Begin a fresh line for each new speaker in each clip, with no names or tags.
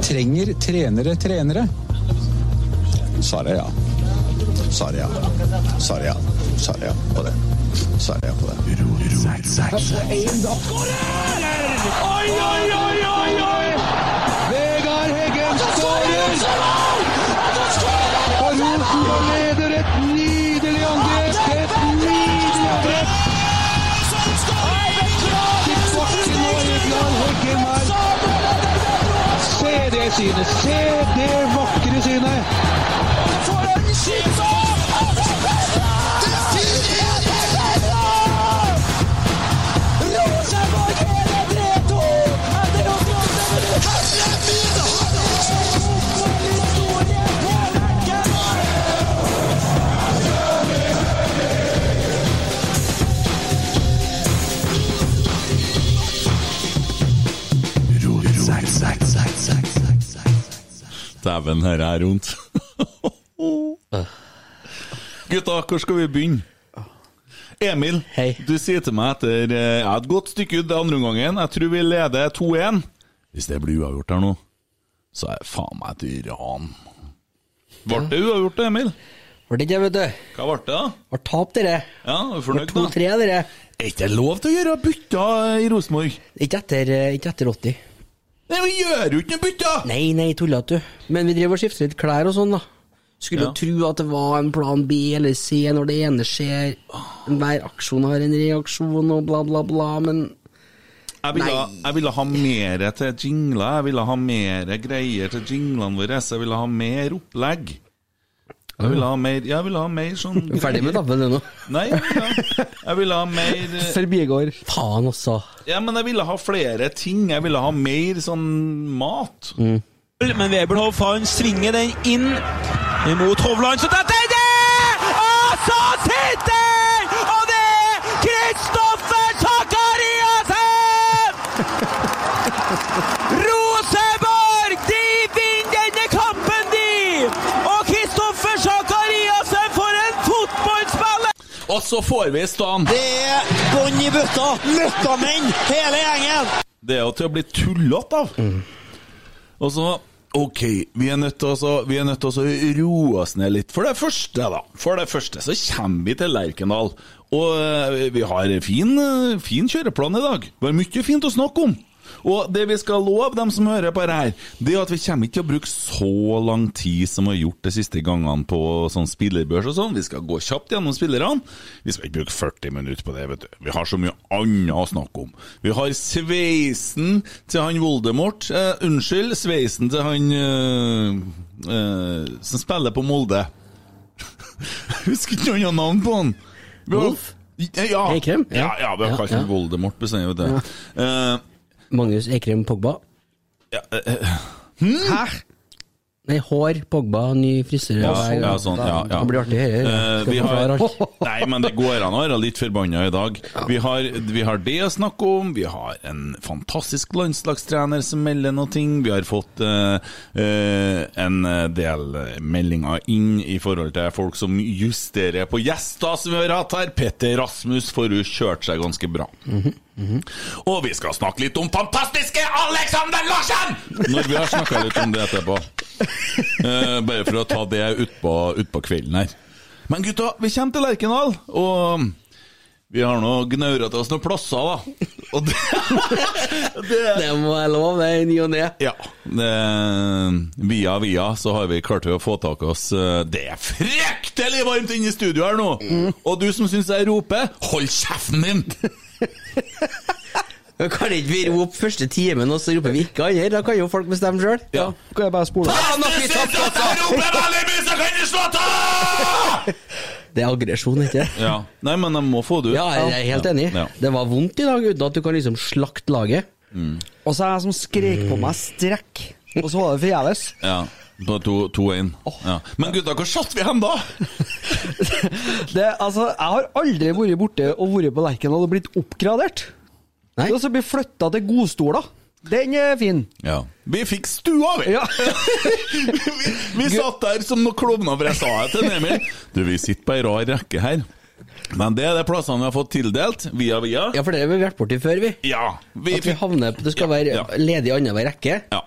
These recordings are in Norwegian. Trenger trenere trenere? Svaret er ja. Svaret er ja. Svaret er ja. Svaret er ja på det. Svaret er ja på det.
Oi, oi, oi, oi, oi! Vegard Heggen skårer! Og Rosenborg leder et nydelig angrep! Et nydelig angrep! Tilbake nå, Vegard Heggen her. Se det synet! Se det vakre synet!
Dæven, her er rundt. Gutta, hvor skal vi begynne? Emil,
Hei.
du sier til meg etter eh, ja, et godt stykke ut det andre omgangen Jeg tror vi leder 2-1. Hvis det blir uavgjort her nå, så er det faen meg et ran. Ble det uavgjort, Emil?
Var det ikke, vet du?
Hva ble det, da?
Var tap, dere.
Ja, er du
Var
fornøyd, da?
2-3, dere.
Er ikke det lov til å gjøre bytter i Rosenborg?
Ikke etter, eh, ikke etter 80.
Nei, vi gjør jo ikke noe bytter!
Nei, nei, tulla du. Men vi driver og skifter litt klær og sånn, da. Skulle
Ja.
jo tro at det var en plan B eller C når det ene skjer. Hver aksjon har en reaksjon og bla, bla, bla, men
Jeg ville,
Nei.
jeg ville ha mer til jingler, jeg ville ha mer greier til jinglene våre, jeg ville ha mer opplegg. Jeg ville ha mer, jeg ville ha mer sånn
Vi er ferdig med
greier.
tabben ennå.
Nei, jeg ville ha- jeg ville ha mer eh,
Forbigård. Faen altså. også.
Ja, men jeg ville ha flere ting. Jeg ville ha mer sånn mat.
Mm.
Men Weberhoff han svinger den inn mot Hovland, så detter det! Og så sitter den! Og det er Kristoffer Sakariassen! Rosenborg, de vinner denne kampen, de! Og Kristoffer Sakariassen, for en fotballspiller!
Og så får vi i stand!
Det er bånn i bøtta. Møkkamenn, hele gjengen.
Det er jo til å bli tullete av. Og så Ok, vi er nødt til å så- vi er nødt til å så roe oss ned litt. For det første, da. For det første så kommer vi til Lerkendal. Og eh, vi har fin, eh, fin kjøreplan i dag. Det var mye fint å snakke om. Og det vi skal love dem som hører på det her, det er at vi kommer ikke til å bruke så lang tid som vi har gjort de siste gangene på sånn spillerbørs og sånn. Vi skal gå kjapt gjennom spillerne. Vi skal ikke bruke 40 minutter på det, vet du. Vi har så mye annet å snakke om. Vi har sveisen til han Voldemort. Eh, unnskyld, sveisen til han eh, eh, som spiller på Molde. Husker ikke noe annet navn på han. Vi har-
Wolf?
Ja.
Eikrem?
Ja, ja, vi har
Ja,
kalt
ja.
han Voldemort bestandig, vet du. Eh,
Magnus Eikrem Pogba.
Hmm?
ja, eh, eh,
Hæ?
Nei, hår, Pogba, ny frisyre
Ja,
hver gang.
ja, sånn, ja, ja.
Det blir artig her.
Eh,
Skal
vi
forklare
har,
alt.
nei, men det går an å være litt forbanna i dag. Vi har, vi har det å snakke om, vi har en fantastisk landslagstrener som melder noe, ting. vi har fått eh, eh, en del meldinger inn i forhold til folk som justerer på gjester som vi har hatt her. Petter Rasmus får jo kjørt seg ganske bra.
Mhm,
Og vi skal snakke litt om fantastiske Alexander Larsen! Når vi har snakka litt om det etterpå. Eh, bare for å ta det utpå ut på kvelden her. Men gutta, vi kommer til Lerkendal, og um, vi har nå gnaura til oss noen plasser, da. Og det, det
Det må jeg love, det er i ny og ne.
Ja. Det, via via så har vi klart å få tak i oss eh, Det er fryktelig varmt inne i studio her nå!
Mm.
Og du som syns jeg roper, hold kjeften din!
Kan ikke vi rope første timen, og så roper vi ikke andre? Da kan jo folk bestemme sjøl.
Ja.
Kan jeg bare spole av?
Hvis du syns at jeg roper veldig mye, så kan du slutte!
Det er aggresjon, ikke det?
Ja. Nei, men jeg må få det ut.
Ja, jeg er helt enig.
Ja.
Det var vondt i dag, uten at du kan liksom slakte laget.
Mm.
Og så er jeg som skrek på meg strekk,
Mm.
og så var det forgjeves.
Ja, på 2-1. Ja. Men gutta, hvor satt vi hen da?
Det, altså, jeg har aldri vært borte og vært på Lerkendal og blitt oppgradert.
Nei.
Og så blir flytta til godstoler. Den er fin.
Ja. Vi fikk stua, vi!
Ja.
vi, vi satt der som noen klovner, for jeg sa det til Emil. Du, vi sitter på ei rar rekke her. Men det er de plassene vi har fått tildelt, via via.
Ja, for det har vi vært borti før, vi.
Ja, vi
At vi
fikk,
havner på Det skal
Ja,
være
ja.
ledig annenhver rekke.
ja.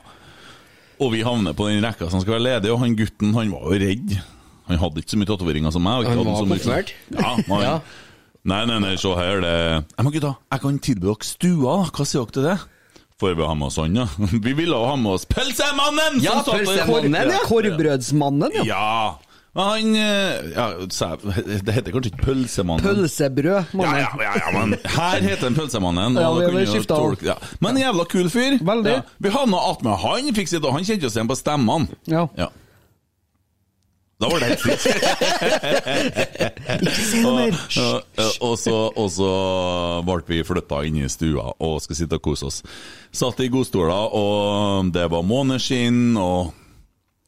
Og vi havner på den rekka som skal være ledig, og han gutten han var jo redd. Han hadde ikke så mye tatoveringer som meg. og ikke
Han
hadde
var
så mye-
konfirmert.
Ja, man,
Ja.
Nei, nei, nei, se her, det Nei, Men gutta, jeg kan tilby dere stua, da. Hva sier dere til det? Får vi ha med oss han, ja? Vi ville ha med oss Pølsemannen!
Ja,
som satt og-
Pølsemannen, ja.
Korvbrødsmannen, ja.
Ja, men han eh, ja, sa- Det heter kanskje ikke Pølsemannen?
Pølsebrød,
ja,
mannen.
ja, ja, ja, men her heter han Pølsemannen.
Ja,
og
vi
da
har
kunne jo
skiftet
tolke- ja. Men en jævla kul fyr.
Veldig.
Ja. Vi havna attmed han, fikk sitte, og han kjente oss igjen på stemmene.
Ja.
Ja. Da var det helt fritt.
Ikke si noe mer.
Ja, ja, og, så, og så ble vi flytta inn i stua og skal sitte og kose oss. Satt i godstoler, og det var måneskinn, og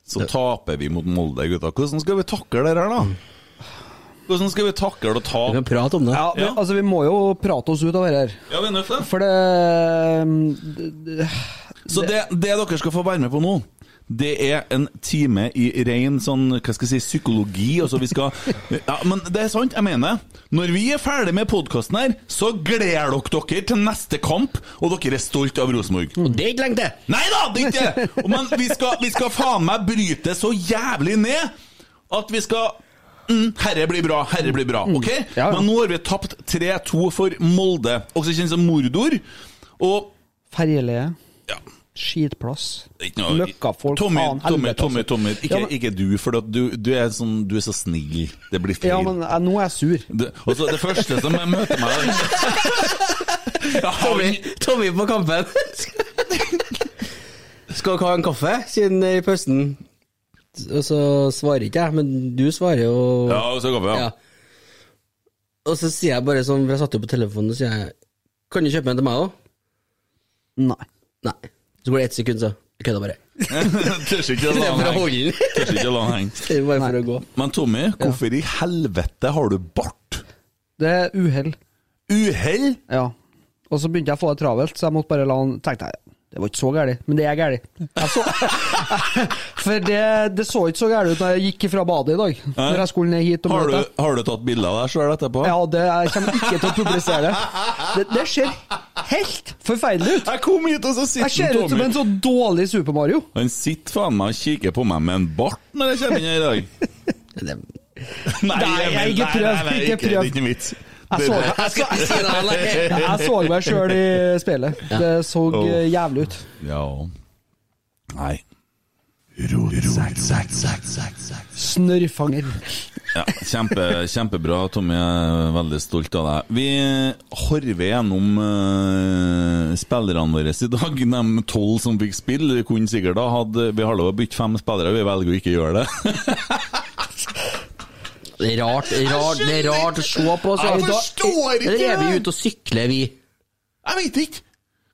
så taper vi mot Molde, gutta. Hvordan skal vi takle det her,
Mm.
da? Hvordan skal vi takle å
Vi kan
tape?
prate om det.
Ja, men,
Ja.
Altså, vi må jo prate oss ut av det her.
Ja, vi er nødt til det.
For det
Så det, det dere skal få være med på nå, det er en time i ren sånn, hva skal jeg si, psykologi. Altså vi skal, ja, men det er sant, jeg mener. Når vi er ferdig med podkasten her, så gleder dere dere til neste kamp, og dere er stolt av Rosenborg.
Og det er ikke lenge til!
Nei da, det er ikke det! Og Men vi skal, vi skal faen meg bryte det så jævlig ned at vi skal mm, Herre blir bra, herre blir bra.
Mm.
ok?
ja.
Men nå har vi tapt 3-2 for Molde, også kjent som mordor. Og
Ferjelie,
ja,
skitplass,
Ikke noe-
møkkafolk,
Tommy,
faen,
Tommy,
helvete,
Tommy,
altså.
Tommy. Ikke,
Ja, men-
ikke du, for at du, du, er sånn, du er så snill. Det blir feil.
Ja, men eh, nå er jeg sur.
det, og så det første som jeg møter meg ja,
Tommy,
han,
Tommy på kampen! Skal dere ha en kaffe siden i pausen? Og så svarer ikke jeg, men du svarer jo.
ja, så går vi, ja.
Ja. Og så sier jeg bare sånn, for jeg satt jo på telefonen, og sier jeg Kan du kjøpe en til meg òg?
Nei.
Nei. Så går det ett sekund, så jeg kødder bare.
Tør ikke å
Det
la
er
han
for å
henge.
holde den.
Tør ikke å la han henge.
Det er bare for å gå.
Men Tommy, hvorfor i helvete har du bart?
Det er uhell.
Uhell?
Ja. Og så begynte jeg å få det travelt, så jeg måtte bare la han tenkte jeg, Det var ikke så gærent, men det er gærent. Jeg så- For det, det så ikke så gærent ut da jeg gikk fra badet i dag. Når jeg skulle ned hit og
Har,
møte
du- har du tatt bilder av deg sjøl etterpå?
Ja, det, jeg kommer ikke til å publisere det. Det, det ser helt forferdelig ut.
Jeg kom hit, og så
Jeg ser
sitter
ut som
Tommy
en så dårlig Super Mario.
Han sitter faen meg og kikker på meg med en bart når jeg kommer inn her i dag. Nei,
Nei,
Emil,
ikke prøv, ikke
det er
prøv.
ikke vits.
Jeg
Det-
så,
Jeg skal ikke si det her lenger.
jeg, jeg så meg sjøl i speilet. Det så eh, jævlig ut.
Ja Nei.
Snørrfanger.
Ja, kjempe, kjempebra, Tommy. Jeg er veldig stolt av deg. Vi horver gjennom eh, spillerne våre i dag. De tolv som fikk spille, kunne sikkert da hatt Vi har lov å bytte fem spillere, vi velger å ikke gjøre det.
Det er rart, det er rart, det er rart å se på. Så
Jeg
Da-
forstår ikke
Eller er vi
det.
ute og sykler, vi?
Jeg vet ikke!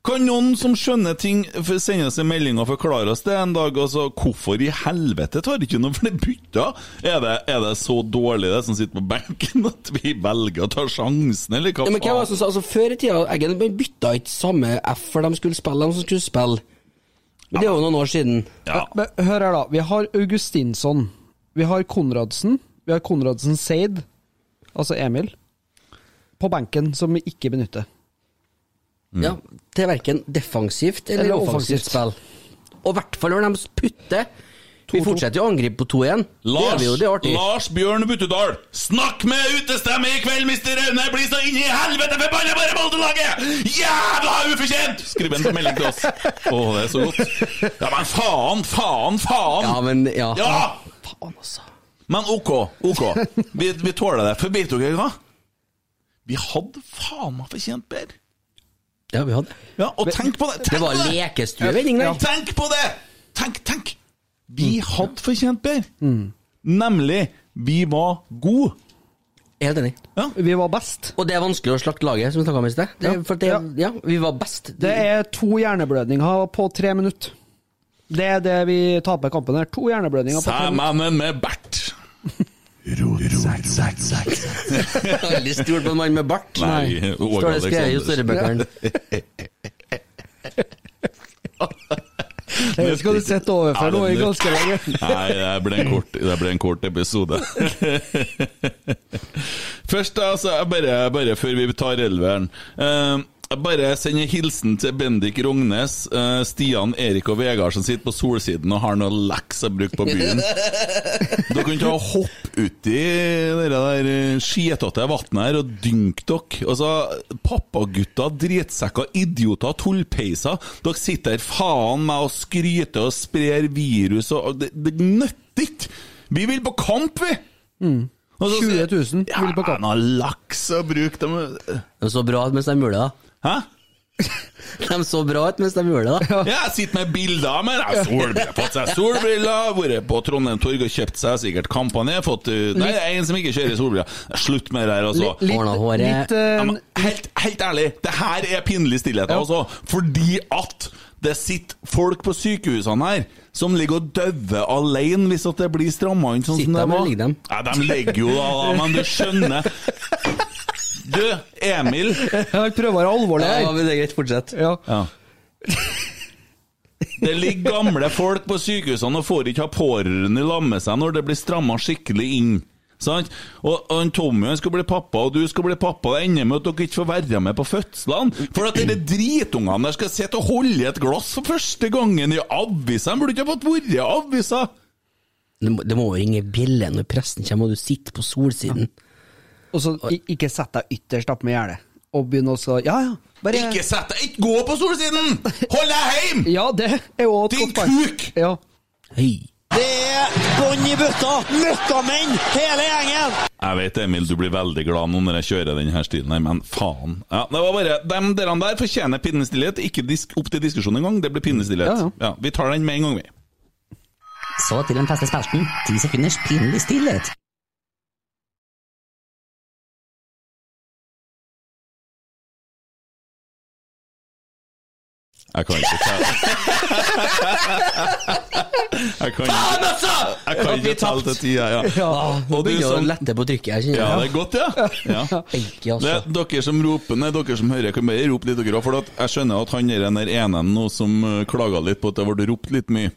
Kan noen som skjønner ting, f- sende oss en melding og forklare oss det en dag? Altså, hvorfor i helvete tar ikke noen flere bytter? Er det, er det så dårlig, det som sitter på benken, at vi velger å ta sjansen, eller hva
Ja, men hvem var det som sa altså, Før i tida Eggen man bytta ikke samme F for de skulle spille, de som skulle spille. Men det er jo noen år siden.
Ja.
Men hør her, da. Vi har Augustinsson. Vi har Konradsen. Vi har Konradsen Seid, altså Emil, på benken, som vi ikke benytter.
Ja, Til verken defensivt eller,
Mm. Eller
offensivt
offensivt.
spill. Og i hvert fall når de putter. Vi fortsetter jo å angripe på 2-1. Det gjør
Lars,
vi jo, det er artig.
Lars Bjørn Buttedal, snakk med utestemme i kveld, mister Raune! Blir så inn i helvete forbanna bare Molde-laget! Jævla ufortjent! Skriv en melding til oss. Å, det er så godt. Ja, men faen, faen, faen!
Ja, men ja.
Ja!
Faen, altså.
Men ok, ok. Vi, vi tåler det. For vet dere hva? Vi hadde faen meg fortjent bedre.
Ja, vi hadde
Ja, og tenk på det! Tenk
Det var
på det!
lekestuevending,
Ja,
det.
tenk på det! Tenk, tenk! Vi hadde fortjent bedre.
Mm.
Nemlig, vi var gode.
Helt enig.
Vi var best.
Og det er vanskelig å slakte laget, som vi snakka om i sted. Det,
Ja.
for det, ja. vi var best.
Det er to hjerneblødninger på tre minutter. Det er det vi taper kampen her. To hjerneblødninger på tre minutter.
Sæmannen med bert.
Jeg har aldri stolt på en mann med bart.
Nei, Åge
Står det skrevet i
Aleksander.
historiebøkene.
Det skal du sette overfor
Ja,
nå i
det-
ganske lenge.
Nei, det ble en kort, det ble en kort episode. Først, altså, jeg bare, bare før vi tar elveren eh, jeg Bare send en hilsen til Bendik Rognes, eh, Stian, Erik og Vegard som sitter på solsiden og har noe leks å bruke på byen. Dere kan ta og hoppe uti det der eh, skitete vannet her og dynke dere. Altså, pappagutter, drittsekker, idioter, tullpeiser. Dere sitter her faen meg og skryter og sprer virus og og Det, det nytter ikke! Vi vil på kamp, vi! Altså, Og så-
20 000 vil på kamp.
Ja, noe laks å bruke dem
De så bra ut mens de gjorde det, da.
Hæ?
De så bra ut mens de gjorde det, da.
Ja, jeg sitter med bilder med deg. Solbriller, fått seg solbriller, vært på Trondheim Torg og kjøpt seg sikkert kampanje. Fått uh, Nei, det er en som ikke kjører solbriller. Slutt med det her, altså.
Litt,
Ordna håret.
litt, eh,
Ja, men helt, helt ærlig, det her er pinlig stillhet, altså. Fordi at det sitter folk på sykehusene her som ligger og dauer alene hvis at det blir stramma inn sånn
Sitter
som det
de,
var.
eller ligger de?
Nei, de ligger jo da, men du skjønner. Du, Emil.
Jeg prøver å være alvorlig
Ja,
her.
men det er greit, fortsett.
Ja.
Ja. Det ligger gamle folk på sykehusene og får ikke ha pårørende i lag med seg når det blir stramma skikkelig inn. Sant? Og, og en Tommy han skal bli pappa, og du skal bli pappa. Det ender med at dere ikke får være med på fødslene. For at dere dritungene der skal sitte og holde i et glass for første gangen i avisa! De burde ikke ha fått være i avisa!
Det må, det må jo ringe bjelle når presten kommer, og du sitter på solsiden.
Og så i- ikke sett deg ytterst opp med gjerdet og begynne å så Ja, ja. Bare
Ikke sett deg! Ikke gå på solsiden! Hold deg heim!
Ja, det er jo et
Din
godt poeng.
kuk!
Ja.
Hei.
Det er bånn i bøtta! Møkkamenn, hele gjengen!
Jeg vet, Emil, du blir veldig glad nå når jeg kjører denne stilen her, men faen. Ja, det var bare, dem dere der fortjener pinnestillhet. Ikke disk, opp til diskusjon engang, det blir pinnestillhet.
Ja,
Ja,
ja.
vi tar den med en gang, vi.
Så til den faste spalten, ti sekunders pinlig stillhet.
Jeg kan ikke telle. jeg kan ikke, jeg kan ikke telle til tida, ja.
Ah, Nå
Og du
begynner jeg å
som-
lette på trykket, jeg
Ja,
kjenner
det er godt, ja. ja.
Eike,
Det,
altså.
dere som roper, nei, dere som hører, kan bare rope litt, dere òg. For at jeg skjønner at han er den der ene nå som eh, klaga litt på at det ble ropt litt mye.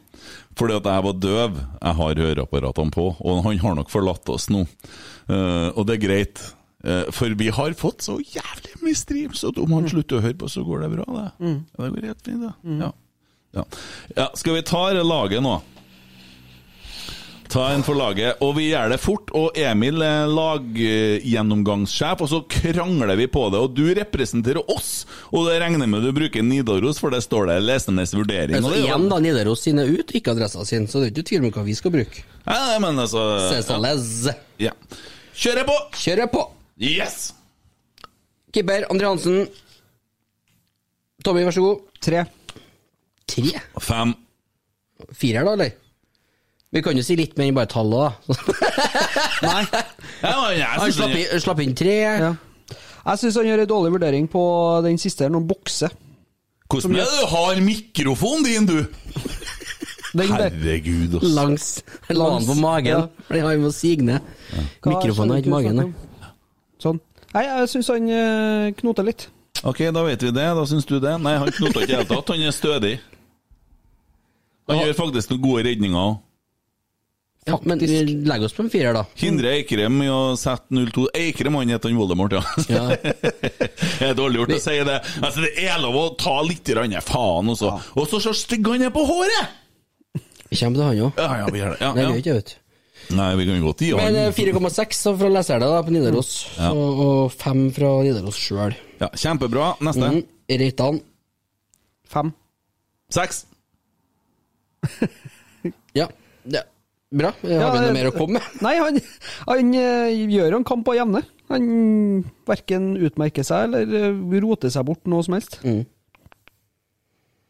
Fordi at jeg var døv. Jeg har høreapparatene på, og han har nok forlatt oss nå. Eh, og det er greit. Eh, for vi har fått så jævlig mye streams, at om han slutter å høre på, så går det bra, det. Ja, det går helt fint, det. Ja. Ja. ja. Skal vi ta det laget nå? Ta en for laget, og vi gjør det fort. Og Emil er laggjennomgangssjef, og så krangler vi på det. Og du representerer oss, og det regner jeg med du bruker Nidaros, for det står det Lesenes vurdering.
Altså,
og det er jo-
igjen, da. Nidaros sin er ut, ikke adressa sin, så det er ikke tvil om hva vi skal bruke.
Ja, ja, men altså
Cesales.
ja. Kjører jeg på!
sånn Kjører på!
Yes!
Keeper André Hansen. Tommy, vær så god.
Tre.
Tre?
Fem.
Firer, da, eller? Vi kan jo si litt mer enn bare tallet, da.
Nei.
Ja, men jeg
Han
synes
slapp,
den er-
inn- slapp inn tre.
Ja. Jeg syns han gjør en dårlig vurdering på den siste, her, når han bokser. Som
Hvordan er det du har mikrofonen din, du? Herregud, ass.
Langs. La den på magen. For den har jo signe. Mikrofonen har ikke magen, nei.
Sånn. Nei, jeg syns han eh, knoter litt.
Ok, da vet vi det. Da syns du det. Nei, han knoter ikke i det hele tatt. Han er stødig. Han gjør faktisk noen gode redninger òg.
Ja, men vi legger oss på en firer, da.
Hindre Eikrem i å sette 0-2 Eikrem han heter han Voldemort, ja. det er dårlig gjort å si det. Altså, det er lov å ta litt grann faen, også. Og så så stygg han er på håret!
Vi kommer til han òg.
Ja, ja, vi gjør det. Ja,
Nei, vi
ja.
gjør ikke det, vet du.
Nei, vi kan godt gi
Men eh,
han.
4,6 da fra leserne da, på Nidaros,
Ja.
og, og 5 fra Nidaros sjøl.
Ja, kjempebra. Neste.
Mm. Reitan.
Fem.
Seks.
Ja. ja. Bra. Har vi
Ja, eh,
noe mer å komme med?
Nei, han, han eh, gjør jo en kamp på jevne. Han verken utmerker seg eller eh, roter seg bort noe som helst.
Mm.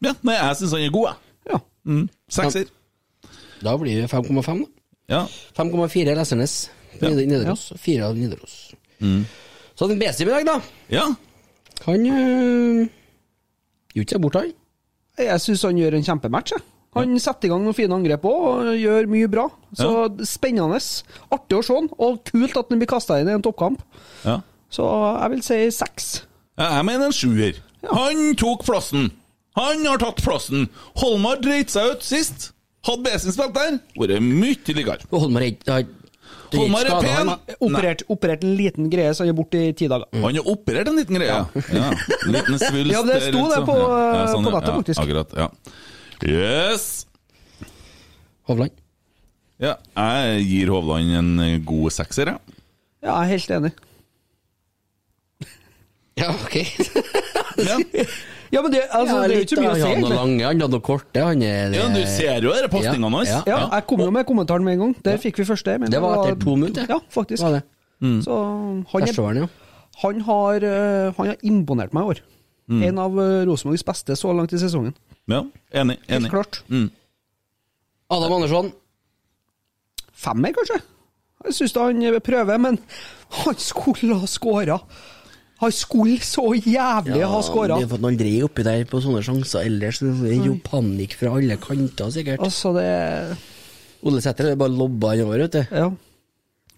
Ja, nei, jeg syns han er god, jeg.
Ja.
Mm. Sekser.
Da blir det 5,5, da.
Ja.
5,4 Lesernes på
Ja.
Nid- Nidaros. 4 av Nidaros. Mm. Så den BC i dag, da.
ja.
Han øh, gjorde ikke seg bort, han.
Jeg syns han gjør en kjempematch. Jeg. Han setter i gang noen fine angrep òg, og gjør mye bra. Så spennende. Artig å se han, og kult at han blir kasta inn i en toppkamp.
ja.
Så jeg vil si seks.
Ja, Jeg mener en sjuer. Han tok plassen. Han har tatt plassen. Holmar dreit seg ut sist. Hadde Besin spilt der, vært mye likere.
Og Holmar er ikke har- det ikke
Holmar er
skadet
pen.
han.
Operert, operert en liten greie, så han er borte i ti dager.
Han har operert en liten greie. Ja, liten svulst
Ja, det
der
sto
ute,
det
så-
på,
Ja, sånn,
på
ja.
nettet, faktisk.
Ja, akkurat, ja. Yes!
Hovland.
Ja, jeg gir Hovland en god sekser, jeg.
Ja, jeg er helt enig.
Ja, ok.
Ja.
Ja, men det, altså, det er jo ikke så mye å si,
Han hadde
egentlig.
lange, han hadde noe korte. Han er
ja, du ser jo dere postingene hans.
Ja,
Ja, jeg kom jo med kommentaren med en gang. Der fikk vi første. Men
Det var etter to minutter.
Ja, faktisk.
Var det.
Mm.
Så han, er,
Førsteåren, ja.
han, har, eh, han har imponert meg i år.
Mm.
En av eh, Rosenborgs beste så langt i sesongen.
Ja, enig.
Helt
enig. Mm.
klart.
Adam Andersson.
Femmer, kanskje? Jeg syns han prøver, men han skulle ha skåra. Han skulle så jævlig ha skåra.
Vi har fått aldri oppi der på sånne sjanser ellers. Det er jo panikk fra alle kanter, sikkert.
Altså, det
Ole Sæter det er bare lobba han over, vet du.
Ja.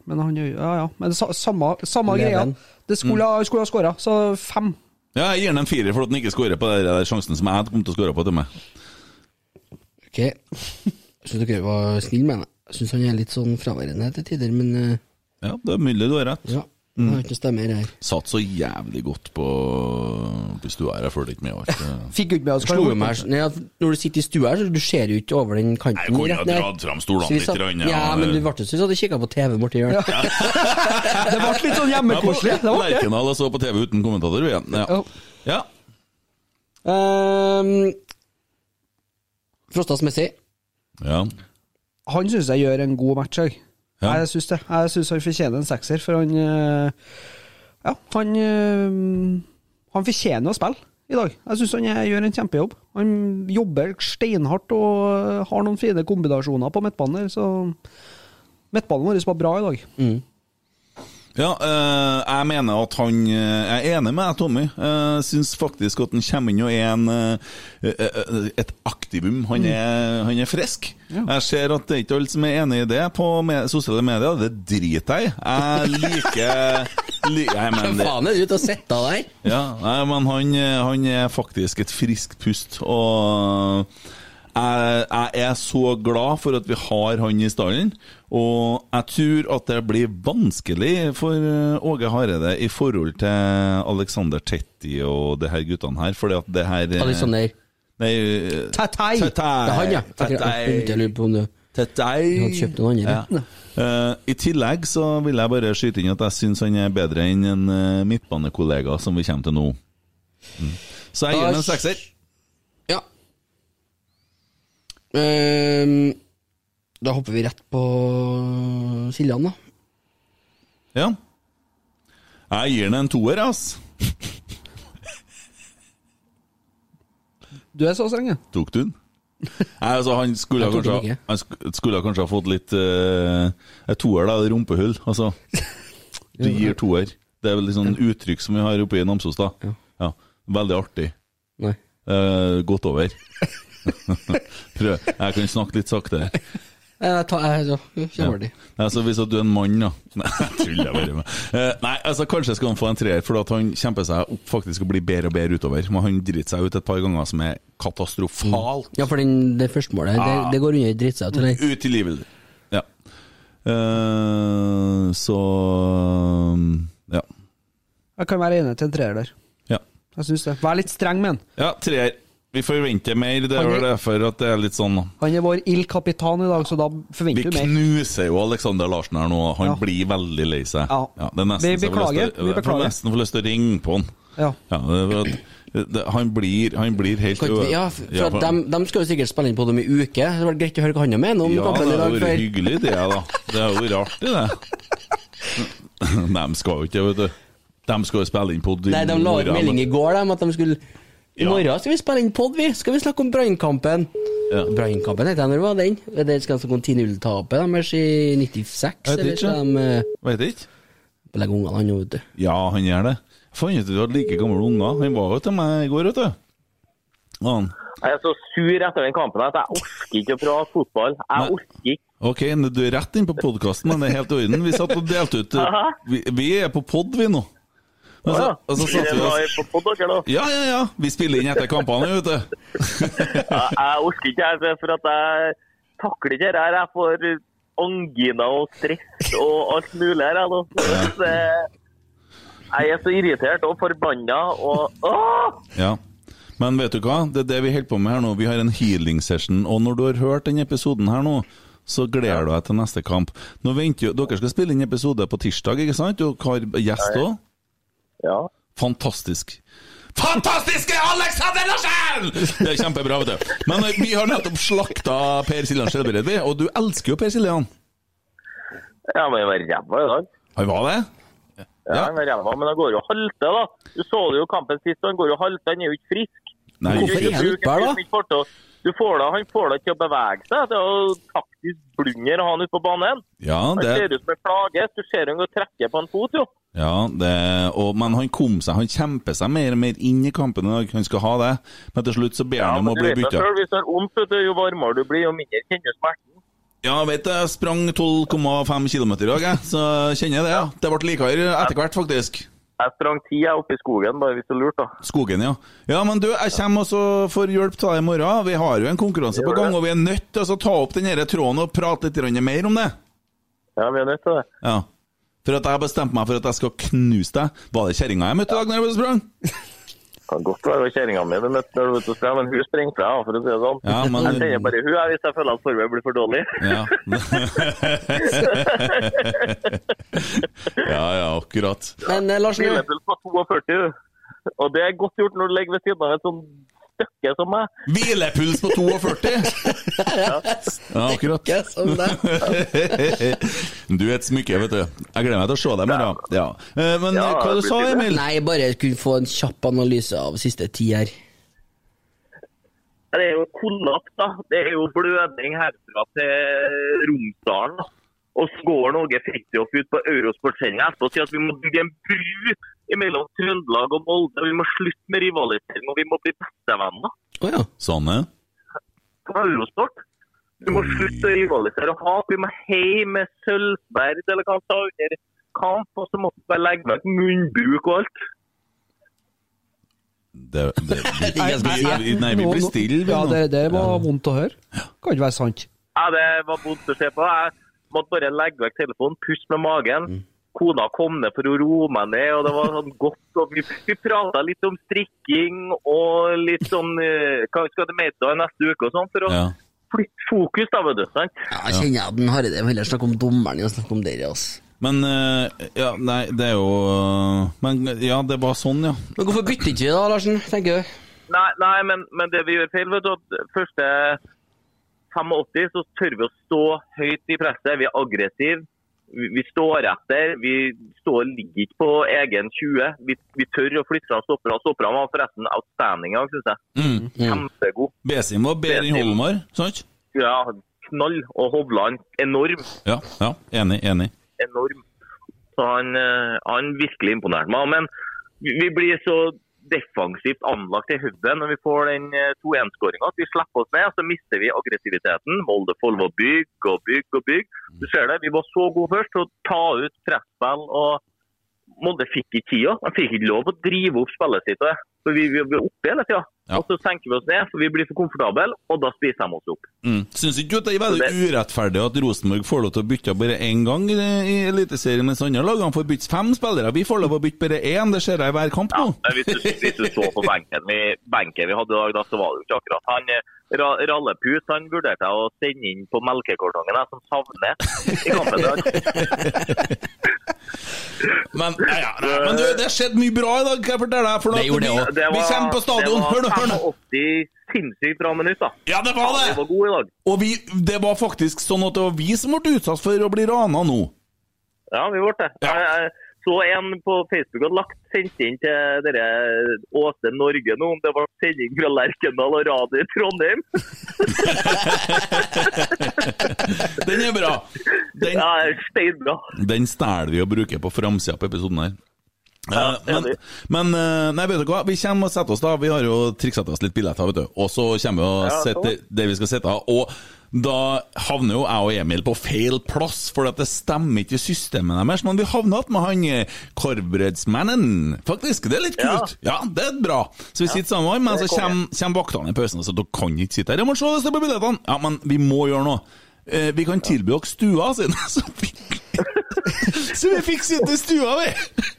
Men han gjør Ja, ja. Men det, sa- samme, samme greia.
Leven. Mm.
Det skulle, ha- skulle ha skåra, så fem.
Ja, jeg gir han en firer for at han ikke skårer på den der sjansen som jeg kom til å skåre på til meg.
Ok. Jeg syns dere var snille med henne. Jeg syns han er litt sånn fraværende til tider, men eh,
Ja, det er mulig du har rett.
ja. Han
Mm.
har ikke stemmer her.
Satt så jævlig godt på Hvis du er her, følger ikke med alt.
Fikk jo ikke med oss
Slo jo meg her- Nei, at Når du sitter i stua her, så du ser jo ikke over den kanten.
Nei, jeg kunne
rett
ha
ned.
dratt fram stolene
Så vi
litt
satt-
grann, ja.
Ja, men du ble jo sånn at du kikka på TV borti hjørnet.
Det ble litt sånn hjemmekoselig. Det ble det.
Lerkendal og så på TV uten kommentator, vi igjen. Ja.
Ja.
ja.
Ehm, Frostas Messi.
ja.
Han syns jeg gjør en god match òg.
Ja.
Jeg syns det. Jeg syns han fortjener en sekser, for han eh, Ja, han eh, Han fortjener å spille i dag. Jeg syns han eh, gjør en kjempejobb. Han jobber steinhardt og eh, har noen fine kombinasjoner på midtbanen, her, så Midtbanen vår var bra i dag.
Mm. ja eh, jeg mener at han eh, Jeg er enig med deg, Tommy. Jeg syns faktisk at han kommer inn og er en, eh, eh, et aktivum. Han er, han er frisk. Jeg ser at det er ikke alle som er enig i det på me sosiale medier. Det driter jeg i. Jeg liker li Nei, men
Hvem
det-
faen er du ute og sitter der?
Ja, nei, men han, eh, han er faktisk et friskt pust, og jeg, jeg er så glad for at vi har han i stallen. Og jeg tror at det blir vanskelig for eh, Åge Hareide i forhold til Alexander Tetti og de her guttene her, fordi at det her eh,
Alexander.
Nei, eh,
Tatei!
Det er han, ja.
Tatei.
Jeg begynte å lure på om du
Tatei.
hadde kjøpt noen andre.
Ja. Eh, I tillegg så vil jeg bare skyte inn at jeg syns han er bedre enn en eh, midtbanekollega som vi kommer til nå. Mm. Så jeg gir ham en sekser.
Ja. Ehm, da hopper vi rett på Siljan, da.
Ja. Jeg gir ham en toer, ass.
Du er så streng, ja.
Tok du den? Nei, altså Han skulle,
Jeg tok den
kanskje,
ikke.
han sk- skulle kanskje ha fått litt uh, Et toer, da. Rumpehull, altså. Du gir toer. Det er vel litt sånn uttrykk som vi har oppe i Namsos, da. Ja. Veldig artig.
Nei.
eh, gått over. Prøv. Jeg kan snakke litt sakte her.
Jeg tar, jeg, jeg, kjører de.
Altså, hvis at du er en mann, da Nei, jeg tuller bare med Eh, Nei, altså, kanskje skal han få en treer, for at han kjemper seg opp faktisk og blir bedre og bedre utover. Men han driter seg ut et par ganger som er katastrofalt.
Ja, for den, det første målet, det,
Ah.
det går under drittseut, eller?
Ut i livet. Ja. Eh, så Ja.
Jeg kan være enig til en treer der.
Ja.
Jeg syns det. Vær litt streng med han.
ja treer. Vi forventer mer. Det er
Han er-
vel derfor at det er litt sånn
Han er vår Il Capitan i dag, så da
Vi
forventer vi mer.
knuser jo Alexander Larsen her nå. Han
Ja.
blir veldig lei seg.
Ja.
det er nesten
Vi
så jeg får lyst til-
beklager, vi
Jeg får
beklager.
nesten få lyst til å ringe på han.
Ja.
det, er for at- det, han, blir, han blir helt
Kan ikke vi- Ja, for at dem, dem skal jo sikkert spille inn på dem i uke. Det hadde vært greit å høre hva han mener om
Ja,
kampen i
det har
dag.
vært
For
hyggelig det, da. Det har vært artig, det. Nei, de skal jo ikke, vet du. De skal jo spille inn på
Nei, De la ut melding i går dem, at de skulle I morgen skal vi spille inn pod, vi! Skal vi snakke om Brannkampen?
Ja.
Brannkampen heter den, når var den? Er Det skal altså gå 10-0-tapet deres i
Jeg
96,
vet
eller
ikke.
skal de eh,
Vet ikke.
legge ungene han nå, vet du.
Ja, han gjør det. Fant ut at du hadde like gamle unger. Han var jo til meg i går, vet du. Sånn. Og Han.
Jeg er så sur etter den kampen at jeg orker ikke å prate fotball. Jeg orker ikke.
Ok, nå- du er rett inn på podkasten, men det er helt i orden. Vi satt og delte ut eh,
Aha.
vi, vi er på pod, vi nå. Men så- og så satt vi oss
på podd, dere, da.
Ja, ja, ja. Vi spiller inn etter kampene, vet du.
Jeg, jeg orker ikke, jeg, for at jeg takler ikke det her. Jeg får angina og stress og alt mulig her. Jeg, nå. Så det- jeg er så irritert og forbanna og Åh!
Ja. Men vet du hva? Det er det vi holder på med her nå. Vi har en healing session. Og når du har hørt den episoden her nå, så gleder du deg til neste kamp. Nå venter jo, Dere skal spille inn episode på tirsdag, ikke sant? Og har gjest òg?
Ja.
Fantastisk.
eh-
Fantastiske Alexander Larsen! Det er kjempebra, vet du. Men eh, vi har nettopp slakta Per Siljan Skjelbred, vi. Og du elsker jo Per Siljan.
Ja, men jeg var ræva i dag.
Han var det?
Ja, han var ræva, men han går jo halte, da. Du så det jo kampen sist, han går jo halte. Han er jo ikke frisk.
Nei,
Du
hvorfor
bruker-
er han ikke der, da?
bruker ikke fart til å- Du får da, han får deg til å bevege seg. Det er jo taktisk blunder å ha han ute på banen.
Ja,
han
det
ser ut som en plage. Du ser han går og trekker på en fot, jo.
Ja, det, og, men han kom seg, han kjemper seg mer og mer inn i kampen i dag. Han skal ha det, men til slutt så ber han om å
Du
bli
vet deg
bytta.
selv, hvis det Altså, er vondt, vet du, jo varmere du blir, jo mindre kjenner du smerten.
Ja, vet du, jeg sprang 12,5 km i dag, jeg, så kjenner jeg det. ja. Det ble likere etter hvert, faktisk.
Jeg sprang ti jeg oppe i skogen, bare hvis du lurte. da.
Skogen, ja. Ja, men du, jeg kommer og så får hjelp til deg i morgen. Vi har jo en konkurranse på gang, og vi er nødt til å så altså, ta opp den her tråden og prate litt grann mer om det.
Ja, vi er nødt til det.
Ja. For at jeg har bestemt meg for at jeg skal knuse deg. Var det kjerringa jeg møtte i dag når jeg sprang?
Kan godt være det var kjerringa mi du møtte når du var ute og sprang, men hun springer fra deg, for å si det sånn.
Ja, men-
Jeg kjenner bare hun jeg, hvis jeg føler at formen blir for dårlig.
Ja. ja, ja, akkurat.
Men eh, Larsen
Hvilepuls på 42, du. og det er godt gjort når du ligger ved siden av et sånn støkke som meg.
Hvilepuls på 42? Ja, akkurat.
sånn
Du er et smykke, vet du. Jeg gleder meg til å se deg i morgen. Ja. Eh, Men eh, hva du sa du, Emil?
Nei, bare kunne få en kjapp analyse av siste ti her.
Det er jo kollaps, da. Det er jo blødning herfra til Romsdalen. da. Og så går Norge Fridtjof ut på Eurosport-sendinga etterpå og sier at vi må bygge en bru mellom Trøndelag og Molde. Vi må slutte med rivalisering, og vi må bli bestevenner.
Sanne?
på Eurosport. Vi må slutte å rivalisere og hat. Vi må heie med Sølvberg eller hva han sa under kamp. Og så må vi bare legge vekk munnbruk og alt.
Det, det, vi,
Jeg- jeg-
vi, nei, vi
nå-
blir
nå-
stille, vi
Ja,
nå.
det, det var vondt å høre. Kan ikke være sant.
Ja, det var vondt å se på. Jeg måtte bare legge vekk telefonen, puste med magen. Kona kom ned for å roe meg ned, og det var sånn godt. Og vi vi prata litt om strikking og litt sånn eh, Hva vi skal til Meita i neste uke og sånn, for å flytte fokus, da, vet du. sant?
Jeg kjenner at den Harry, det vil heller snakke om dommeren enn å snakke om dere. Altså.
Men eh, Ja, nei, det er jo eh, Men ja, det var sånn, ja.
Men hvorfor bytter ikke vi da, Larsen? tenker du?
Nei, nei men, men det vi gjør feil, vet du, at første 85 så tør vi å stå høyt i presset. Vi er aggressive. Vi, vi står etter. Vi står, ligger ikke på egen 20. Vi, vi tør å flytte fram stopperne. Stopperne var forresten outstanding i dag, syns jeg.
Mm.
Kjempegod.
Besim var bedre enn Holmar, sant?
Ja, knall. Og Hovland enorm.
Ja, ja, enig, enig.
enorm. Så han, eh, han virkelig imponerte meg. Men vi- vi blir så defensivt anlagt i hodet når vi får den 2-1-skåringa. At vi slipper oss ned, så mister vi aggressiviteten. Molde Follo bygger og bygger og bygger. Du ser det, vi var så gode først til å ta ut presspill. og Molde fikk ikke tida. De fikk ikke lov å drive opp spillet sitt. og det. For vi, vi, vi er oppe hele tida. Og så senker vi oss ned, for vi blir for komfortable, og da spiser de oss opp.
Mm. Syns ikke du det er veldig urettferdig at Rosenborg får lov til å bytte bare én gang i, i Eliteserien, mens andre lag får bytte fem spillere? Vi får lov å bytte bare én, det ser jeg i hver kamp nå.
Men hvis du, hvis du så på benken vi, benken vi hadde i dag, da, så var det jo ikke akkurat han. eh, Ra Rallepus han vurderte jeg å sende inn på melkekartongen, jeg som savner i kampen i dag.
Men, ja, ja, nei, men du,
eh,
det skjedde mye bra i dag, kan jeg fortelle deg. For at vi, vi kommer på stadion, hør nå, hør
Det
nå.
var 85 sinnssykt bra minutt, da.
Ja, det var det!
Det var god i dag.
Og vi, det var faktisk sånn at det var vi som ble utsatt for å bli rana nå.
Ja, vi ble det. Jeg, jeg så en på Facebook hadde lagt sendt inn til dere Åse Norge nå, om det var sending fra Lerkendal og radio i Trondheim.
Den er bra. Den,
ja, steinbra.
Den stjeler vi og bruker på framsida på episoden her. Eh, men, men eh, nei, vet dere hva? vi kommer og setter oss da. Vi har jo triksa til oss litt billetter, vet du. Og så kommer vi og
Ja,
setter det vi skal sette av. Og da havner jo jeg og Emil på feil plass, for at det stemmer ikke i systemet deres. Men vi havner igjen med han eh, korvbrødsmannen, faktisk. Det er litt
Ja.
kult. Ja, det er bra. Så vi sitter sammen, men
Det
så
er konge.
kommer kommer vaktene i pausen og sier dere kan ikke sitte her. Jeg må se hvis det er på billettene. Ja, men vi må gjøre noe. Eh, vi kan tilby dere stua, sier han. Så vi- Så vi fikk sitte i stua, vi!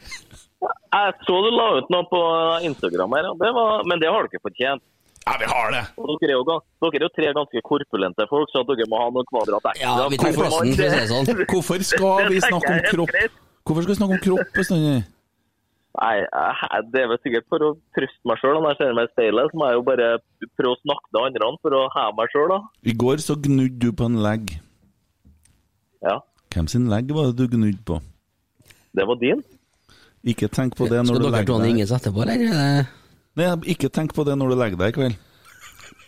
Jeg så du la ut noe på Instagram her, og det var, men det har dere fortjent.
Ja, vi har det.
Og dere, er jo, gans- dere er jo tre ganske korpulente folk, så at dere må ha noen kvadrat ekstra.
Ja, vi tar plassen, for å si det sånn. Hvorfor skal vi snakke om kropp? Hvorfor skal vi snakke om kropp bestandig?
Nei, jeg- Det er vel sikkert for å trøste meg sjøl. Når jeg ser meg i speilet, så må jeg jo bare prøve å snakke til andre for å heve meg sjøl.
I går så gnudde du på en legg.
Ja.
Hvem sin legg var det du gnudde på?
Det var din.
Ikke tenk på det når
Skal
du
dere to
legger
ha
deg.
ingen etterpå, eller?
Nei, ikke tenk på det når du legger deg i kveld.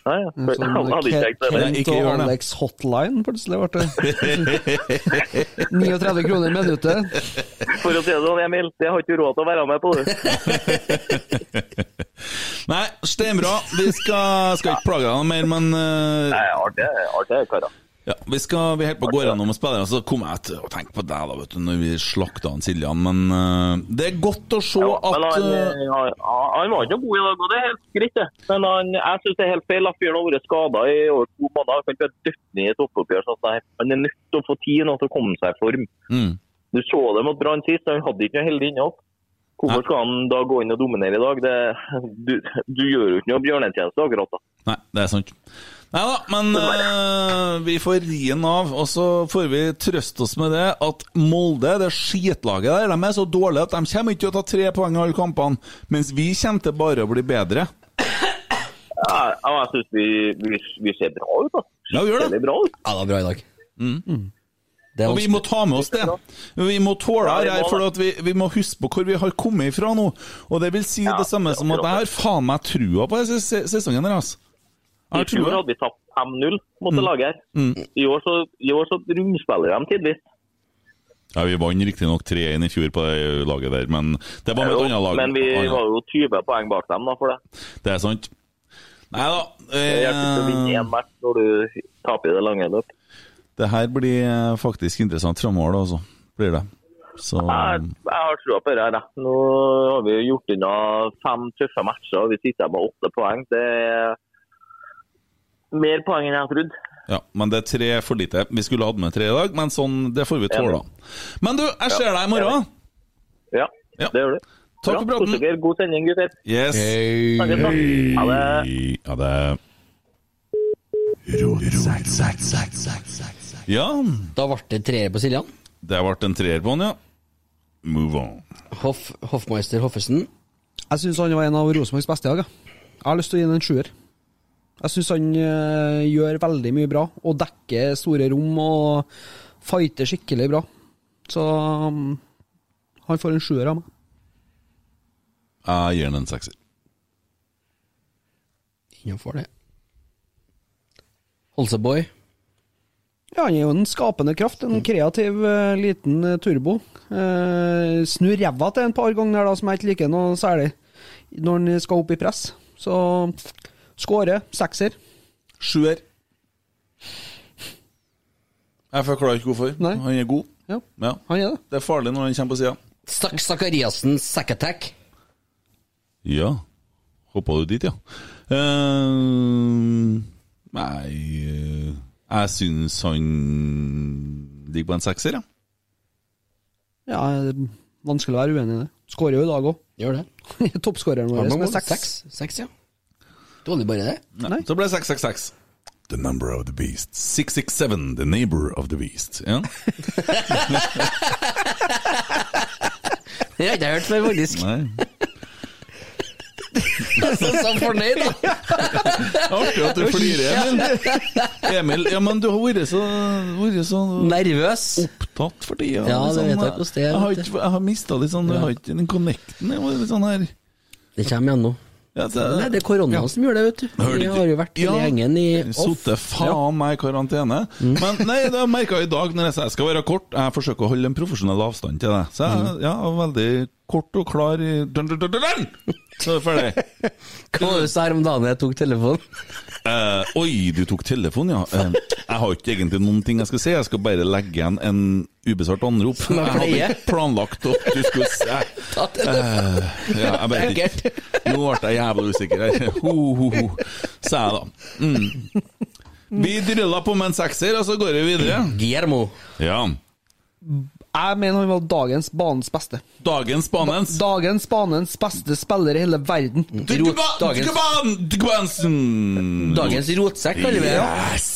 Nei,
En sånn
Nei,
Kent
ikke
og
gjør det.
Alex Hotline, plutselig ble det.
39 kroner i minuttet.
For å si det sånn, Emil, det har ikke du råd til å være med på, du.
Nei, steinbra. Vi skal, skal ikke plage deg noe mer, men eh,
Nei, artig, artig, karer.
ja, vi, skal, vi helt på går gjennom og spiller, så kommer jeg til å tenke på deg da, vet du, når vi slakta han Siljan. Men eh, det er godt å se
Men
at
han,
eh,
han, han var ikke noe god i dag, og det er helt greit, det. Men han, jeg syns det er helt feil at fyren har vært skada i over to måneder. Han kan ikke være dødt ned i et oppoppgjør. sånn som det her. Han er nødt til å få tid nå til å komme seg i form.
mm.
Du så det mot Brann sist, han hadde ikke noe heldig innhopp. Hvorfor skal han da gå inn og dominere i dag? Det, du, du gjør jo ikke noe bjørnetjeneste akkurat da.
Nei, det er sant. Nei da, men eh, vi får ri den av, og så får vi trøste oss med det at Molde, det skitlaget der, de er så dårlige at de kommer ikke til å ta tre poeng i alle kampene, mens vi kommer til bare å bli bedre.
Ja, ja, jeg syns vi, vi, vi ser bra ut, da.
Ja, vi gjør det.
Ser bra ut.
Ja, det var bra i dag. Mm.
er
Og vi må ta med oss det. Vi må tåle det her, for at vi, vi må huske på hvor vi har kommet ifra nå. Og det vil si det samme som at jeg har faen meg trua på denne se- sesongen her, altså.
I
Jeg har
fjor
trua.
hadde vi tapt 5-0 mot det laget her.
Mm.
I år så, i år så rundspiller de tidvis.
Ja, vi vant riktignok 3-1 i fjor på det laget der, men det var med et
Jo,
annet lag.
Men vi
Annet.
var jo 20 poeng bak dem da, for det.
Det er sant. Nei da.
Det hjelper ikke å
eh,
vinne én match når du taper i det lange løp.
Det her blir eh, faktisk interessant framover, da, altså. Blir det. Så
Jeg, jeg har trua på det her. jeg. Nå har vi jo gjort unna fem tøffe matcher, og vi sitter med åtte poeng. Det er mer poeng enn jeg trodde.
Ja, men det er tre for lite. Vi skulle hatt med tre i dag, men sånn, det får vi tåle. Men du, jeg ser deg i morgen.
Ja, det gjør du.
Takk for praten.
Kos dere. God sending, gutter.
Yes.
Snakkes da. Ha det.
Ha det. Ja.
Da ble det treer på Siljan.
Det ble en treer på han, ja. Move on.
Hoff, Hoffmeister Hoffesen.
Jeg syns han var en av Rosenborgs beste i dag. ja. Jeg har lyst til å gi ham en sjuer. Jeg syns han eh, gjør veldig mye bra, og dekker store rom og fighter skikkelig bra. Så mm, han får en sjuer av meg.
Jeg gir den en sekser.
Innenfor det. Holseboy.
Ja, han er jo en skapende kraft, en kreativ eh, liten eh, turbo. Eh, snur ræva til en par ganger der da, som jeg ikke liker noe særlig. når han skal opp i press. Så skårer, sekser.
Sjuer. Jeg forklarer ikke hvorfor. Han er god.
Ja.
Han er Det Det er farlig når han kommer på sida.
Stakk Sakariassen sack attack.
Ja. Hoppa du dit, ja? Eh, nei eh, Jeg syns han ligger på en sekser, ja.
Ja, det er vanskelig å være uenig i det. Skårer jo i dag òg.
Gjør det.
Toppskåreren
Har
vår
man
med
mål?
seks.
Seks, seks, ja. Dårlig bare det.
Nei. Så ble det 666. The number of the beast. 667, the neighbor of the beast. Ja.
Det har jeg ikke hørt før, faktisk.
Nei.
Så, så fornøyd, da.
Artig at du flirer, Emil. Emil, ja, men du har vært så, vært så
Nervøs.
Opptatt for tida.
Ja, det
liksom.
vet jeg hvordan det
Jeg
er,
har,
vet
ikke- jeg har mista litt sånn Jeg har ikke den connecten. Jeg var litt sånn her
Det kommer igjen nå.
Ja, det-
Nei, det er korona som gjør det, vet du.
Hørte
Vi
ikke-
har jo vært hele
Ja.
gjengen i off. Mm.
Sotte faen meg i karantene. Men nei, det merka jeg i dag når jeg sa jeg skal være kort. Jeg forsøker å holde en profesjonell avstand til deg. Så
Mm.
jeg ja, var veldig kort og klar i dun, dun, dun, dun, dun! Så er det ferdig.
Hva var det du sa her om dagen jeg tok telefonen?
Eh, oi, du tok telefonen, ja. Eh, jeg har ikke egentlig noen ting jeg skal si. Jeg skal bare legge igjen en ubesvart anrop.
Som jeg
hadde
pleier.
ikke planlagt at du skulle se
Ta telefonen.
Eh, ja, jeg vet ikke. Nå ble jeg jævlig usikker her. Ho, ho, ho, sa jeg da. Mm. Vi drylla på med en sekser, og så går vi videre.
Guillermo.
Ja.
Jeg mener han var dagens banens beste.
Dagens banens.
Dagens banens beste spiller i hele verden.
Mm. Rot, dagens,
Dagens
dagens rotsekk, kaller vi det.
Yes!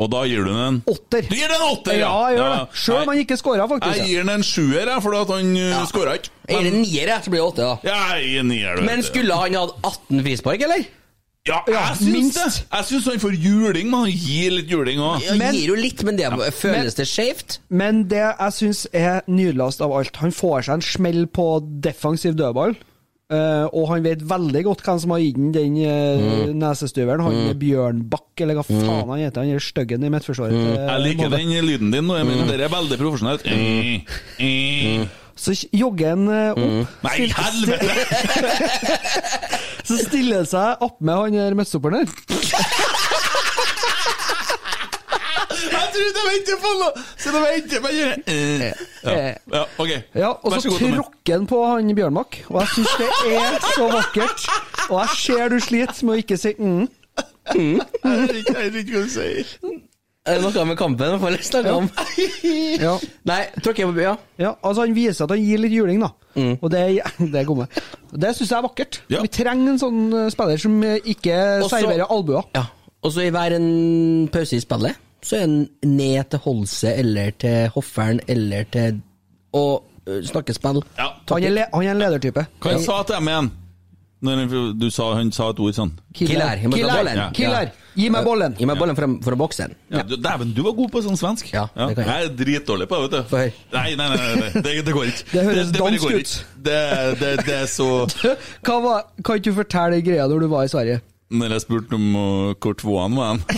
Og da gir du den en
Åtter.
Du gir den en åtter,
Ja, jeg gjør
Ja.
det. Sjøl om han ikke skåra, faktisk.
Jeg gir den en sjuer, jeg, for at han uh, skåra ikke.
Jeg gir det en nier, jeg, så blir det åtte, da.
Ja, jeg gir en nier, du vet
Men
det.
skulle han hatt 18 frispark, eller?
Ja, jeg syns
minst.
det. Jeg syns han får juling, men han gir litt juling òg.
Han
Men-
gir jo litt, men det føles det skjevt?
Men det jeg syns er nydeligst av alt, han får seg en smell på defensiv dødball. eh, og han vet veldig godt hvem som har gitt den den eh,
Mm.
nesestyveren. Han er Bjørnbakk, eller hva faen han heter. Han er styggen i midtforsvaret.
Mm.
til
Mm. Jeg liker
Molde.
den lyden din nå, Emil. Det er veldig Eh, profesjonelt. Mm.
Så jogger han eh,
Mm.
opp.
Nei,
Stilt-
helvete!
Så stiller han seg opp med han eh, der midtstopperen der.
Jeg trodde jeg ventet på noe! Så det venter jeg bare eh. ja. ja, OK.
Ja, og
Vær
så
så god, Emil.
tråkker han på han Bjørnbakk. Og jeg syns det er så vakkert. Og jeg ser du sliter med å ikke si mm.
Jeg vet ikke- jeg vet ikke hva du sier.
Er det noe med Mm. kampen? Hva har jeg snakket om?
哎
Ja.
Nei, tråkker jeg på Mm. bya?
Ja, altså Han viser at han gir litt juling, da. Og det, det er kommet. Og Det syns jeg er vakkert.
Ja.
Vi trenger en sånn eh, spiller som eh, ikke
Og så-
serverer albuer.
Ja. Og så i hver en pause i spillet, så er den ned til Holse eller til Hoffern eller til Og øh, snakkespill.
Ja.
Han er, le, han er en ledertype.
Hva jeg sa til dem igjen? Når han- du sa, han sa et ord sånn
Killer. Gi meg
Killer.
bollen.
Ja.
Killer. Gi meg bollen.
Gi meg bollen fra, fra boksen.
ja, du- Dæven, du var god på sånn svensk.
Ja, det kan jeg.
Jeg er dritdårlig på det, vet du.
Få høre.
Nei, nei, nei, nei, nei. Det, det går ikke.
Det høres
bare
dansk
går
ut.
ikke. Det, det, det er så
Hva var, kan ikke du fortelle greia når du var i Sverige?
Når jeg spurte om uh, hvor tvåan var han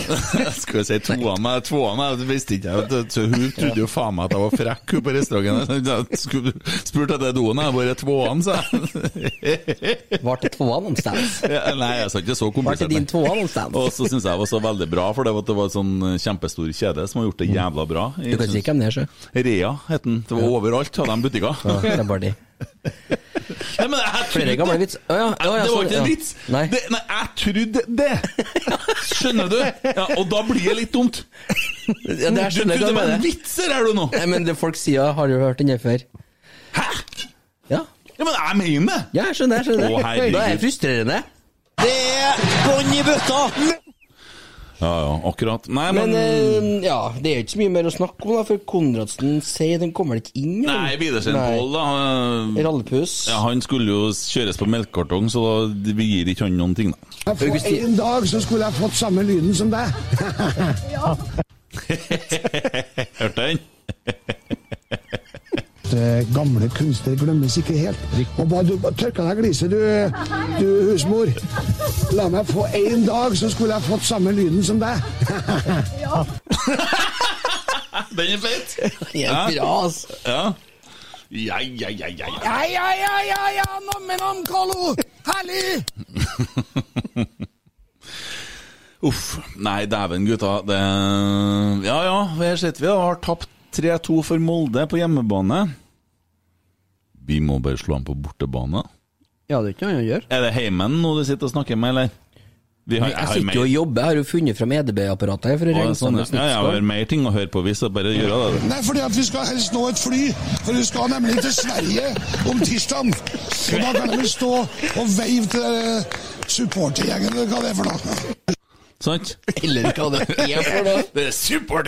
Skulle jeg si tvåan meg? Tvåan meg, det visste ikke jeg. vet du. Så hun trodde jo faen meg at jeg var frekk hun på restauranten. Jeg skulle- Spurte etter doen, jeg bare tvåan, sa jeg.
Var til tvåa noen steds.
Ja, Nei, jeg sa ikke så
Var
komplisert.
til din
nei.
tvåa noen steds.
Og så syns jeg det var så veldig bra, for det var, det var en sånn kjempestor kjede som har gjort det jævla bra.
Du kan si hvem det er, sjø.
Rea het den. Det var overalt, hadde de butikker.
Ja, det er bare de.
Nei, men jeg
Flere
trodde-
gamle vits. Å ja, å ja,
det var
sånn,
ikke en
ja.
vits!
Nei.
Det, nei, jeg trodde det! Skjønner du? Ja, og da blir det litt dumt.
Ja, det her
Du
skjønner
trodde det
jeg hva du
var en
mener.
vits her, er du nå?
Nei, men det folk sier, har du hørt den her før?
Hæ?
Ja,
Ja, men jeg mener det!
ja jeg skjønner jeg skjønner
Å, herregud.
Da er det frustrerende.
Det er bånn i bøtta!
Ja, ja, akkurat. Nei, men,
Men eh, ja, det er jo ikke så mye mer å snakke om, da, for Konradsen sier den kommer ikke inn. eller?
Nei, Widersen
Nei.
Pål, da.
Rallepus.
Ja, han skulle jo kjøres på melkekartong, så da vi gir ikke han noen ting, da.
Augustin.
En dag så skulle jeg fått samme lyden som deg.
Hørte den?
Eh, Gamle kunstnere glemmes ikke helt. Og bare, du tørka deg gliset, du, du husmor. La meg få en dag så skulle jeg fått samme lyden som deg.
Den er feit!
Det er bra, altså.
Ja. Ja, ja, ja, ja, ja.
Ja, ja, ja, ja, ja, nam-nam, Carlo! Herlig!
Uff. Nei, dæven, gutta. Det Ja ja, her sitter vi og har tapt 3-2 for Molde på hjemmebane. Vi må bare slå dem på bortebane.
Ja, det er ikke noe å gjøre.
Er det heimen nå du sitter og snakker med, eller? Vi har-
jeg
har
sitter jo og
mer-
jobber, jeg har jo funnet fram EDB-apparatet her for å
Å,
ringe
sånn,
sånne
ja. ja, jeg har
snittskår.
mer ting å høre på hvis jeg bare gjør det.
Nei, fordi at vi skal helst nå et fly, for vi skal nemlig til Sverige om tirsdagen. Og da kan vi stå og veive til eh, supportergjengen, eller hva det er for noe.
Sant?
Eller hva det er for noe.
Det er supert!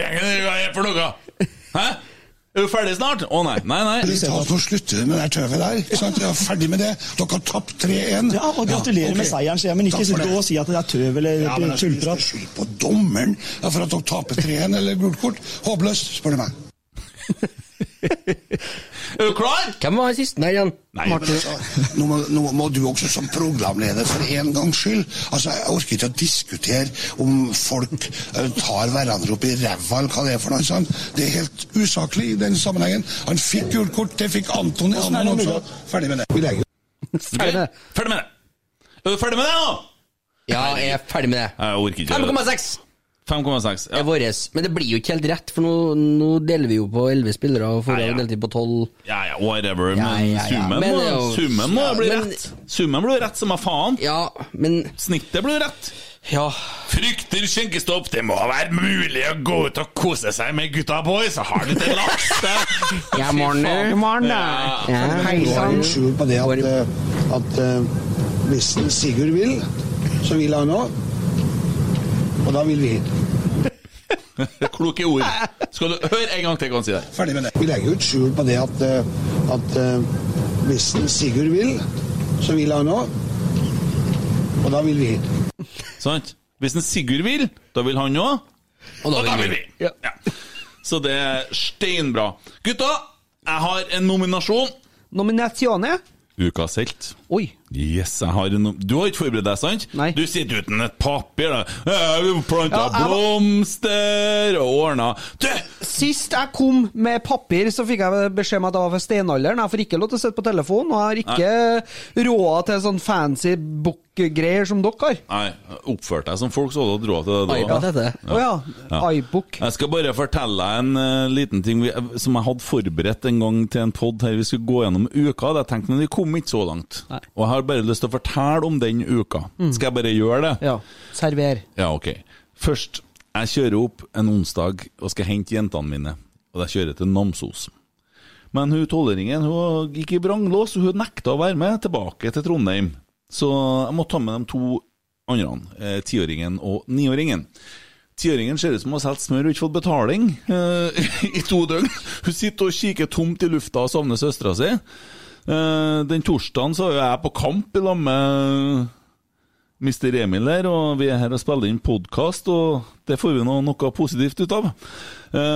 Hva er det for noe? Hæ? Er du ferdig snart? Å nei, nei, nei.
Vi tar for å slutte med det der tøvet der. ikke Sant? Ja, ferdig med det. Dere har tapt 3-1.
Ja, og gratulerer med seieren, sier jeg, men ikke sitte og si at det er tøv eller
ja, men altså,
tullprat.
Skyld på dommeren ja, for at dere taper 3-1 eller gult kort. Håpløst, spør du meg.
Er du klar?
Hvem var han siste der igjen?
Martin. Nå, må, nå må du også som programleder for en gangs skyld. Altså, Jeg orker ikke å diskutere om folk eh, tar hverandre opp i ræva eller hva det er for noe. sant? Det er helt usaklig i den sammenhengen. Han fikk gult kort, det fikk Anton i
Åssen er det
andre
mulig
også. Ferdig med det. Vi legger
Ferdig med det. Ferdig med det. Er du ferdig med det nå?
Ja, jeg er ferdig med det.
Jeg orker ikke.
5,6!
5,6
Det er våres. Men det blir jo ikke helt rett, for nå, nå deler vi jo på 11 spillere, og forrige gang delte vi på 12.
Ja, ja, whatever.
Ja,
Men
ja, ja.
summen
Men
må,
det er jo-
summen må
ja,
bli
men-
rett. Summen blir rett som er faen.
Ja, men
Snittet blir rett.
Ja.
Frykter skjenkestopp. Det må være mulig å gå ut og kose seg med gutta boys. Og har litt laks.
Ja, morgen.
faen.
morgen,
Ja.
Du har jo skjul på det at, eh, at eh, hvis en Sigurd vil, så vil han òg. Og da vil vi.
Kloke ord. Skal du høre en gang til hva han sier der?
Ferdig med det. Vi legger jo ikke skjul på det at, eh, at eh, hvis en Sigurd vil, så vil han òg. Og da vil vi.
Sant? Hvis en Sigurd vil, da vil han òg. Og da, vil vi. Ja. Så det er steinbra. Gutta, jeg har en nominasjon.
Nominasjone?
Ukas helt.
Oi.
Yes, jeg har en nom- Du har ikke forberedt deg, sant? Nei. Du sitter uten et papir. da. Eh, Vi planta
Ja, jeg var-
blomster og ordna Du!
Sist jeg kom med papir, så fikk jeg beskjed om at jeg var fra steinalderen. Jeg får ikke lov til å sitte på telefonen, og jeg har ikke råd til sånn fancy book-greier som dere har.
Nei, oppførte deg som folk, så hadde du råd til det. da.
iPad heter det. Å ja. iBook.
Jeg skal bare fortelle deg en eh, liten ting vi, som jeg hadde forberedt en gang til en pod her. Vi skulle gå gjennom uka. hadde Jeg tenkte, men vi kom ikke så langt. Og jeg har bare lyst
Mm.
til å fortelle om den uka. Skal jeg bare gjøre det?
Ja. Server.
Ja, ok. Først, Jeg kjører opp en onsdag og skal hente jentene mine, og jeg kjører til Namsos. Men hun tolvåringen hun gikk i vranglås, og hun nekta å være med tilbake til Trondheim. Så jeg måtte ta med de to andre, eh, tiåringen og niåringen. Tiåringen ser ut som hun har solgt smør og ikke fått betaling eh, i to døgn. Hun sitter og kikker tomt i lufta og savner søstera si. Eh, den torsdagen så er jeg på kamp i lag med Mr. Emil der, og vi er her og spiller inn podkast, og det får vi nå noe positivt ut av.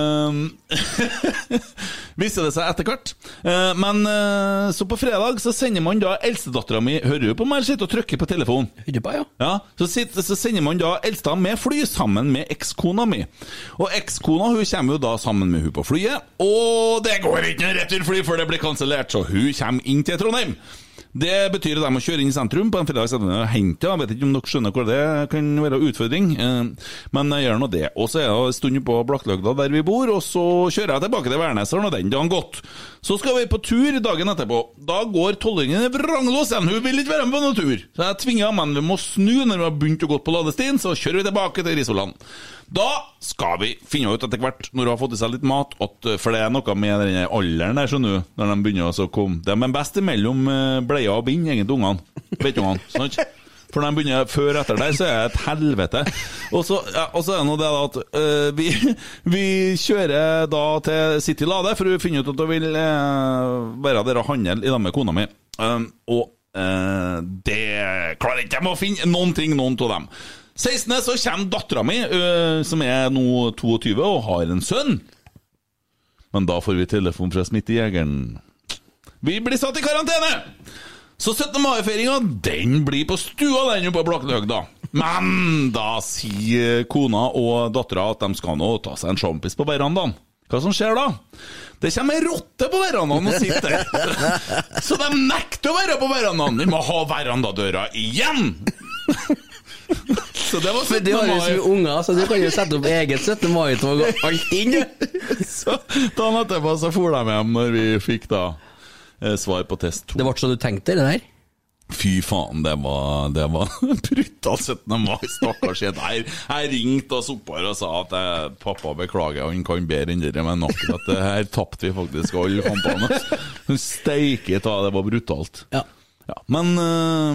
Eh, Viser det seg etter hvert. Eh, Men eh, så på fredag så sender man da eldstedattera mi Hører du på meg? eller Sitter og trykker på telefonen. ja. så, sitter, så sender man da eldsta med fly sammen med ekskona mi. Og ekskona hun kommer jo da sammen med hun på flyet, og det går ikke noe returfly før det blir kansellert, så hun kommer inn til Trondheim. Det betyr at jeg må kjøre inn i sentrum på en fredag ettermiddag og hente henne. Jeg vet ikke om dere skjønner hvor det kan være utfordring, eh, men jeg gjør nå det. Og så er jeg en stund på Blakkløgda der vi bor, og så kjører jeg tilbake til Værneseren, og den dagen gått. Så skal vi på tur dagen etterpå. Da går tolvåringen i vranglås igjen, hun vil ikke være med på noen tur. Så jeg tvinger henne, men vi må snu når vi har begynt å gå på ladestien, så kjører vi tilbake til Risoland. Da skal vi finne ut etter hvert, når hun har fått i seg litt mat, at, eh, for det er noe med den alderen der, skjønner du, når de begynner å så komme De er best mellom eh, bleia og bind, egentlig, ungene. Bekkungene. sant? For når de begynner før og etter der, så er det et helvete. Og så, ja, og så er det nå det da at øh, vi, vi kjører da til City Lade, for hun finner ut at hun vil øh, være der og handle i lag med kona mi. Um, og eh, det klarer ikke de å finne noen ting, noen av dem. 16. så kommer dattera mi, eh, som er nå 22 og har en sønn. Men da får vi telefon fra smittejegeren. Vi blir satt i karantene! Så 17. mai-feiringa, den blir på stua, den jo på Blakkelhøgda. Men da sier kona og dattera at de skal nå ta seg en sjampis på verandaen. Hva som skjer da? Det kommer ei rotte på verandaen og sitter der. Så de nekter å være på verandaen! Vi må ha verandadøra igjen! Så det var 17.
Men du har jo så
mai.
mye unger, så du kan jo sette opp eget 17. mai-tog og alt inn.
Så dagen etterpå så for de hjem når vi fikk da eh, svar på test 2. Det ble
så du tenkte, det der?
Fy faen, det var, det var brutal 17. mai, stakkars jente. Jeg, jeg ringte og soppar og sa at jeg, pappa beklager, han kan bedre enn dere, men akkurat det her tapte vi faktisk alle kampene. Hun steike ta, det var brutalt.
Ja.
Men eh,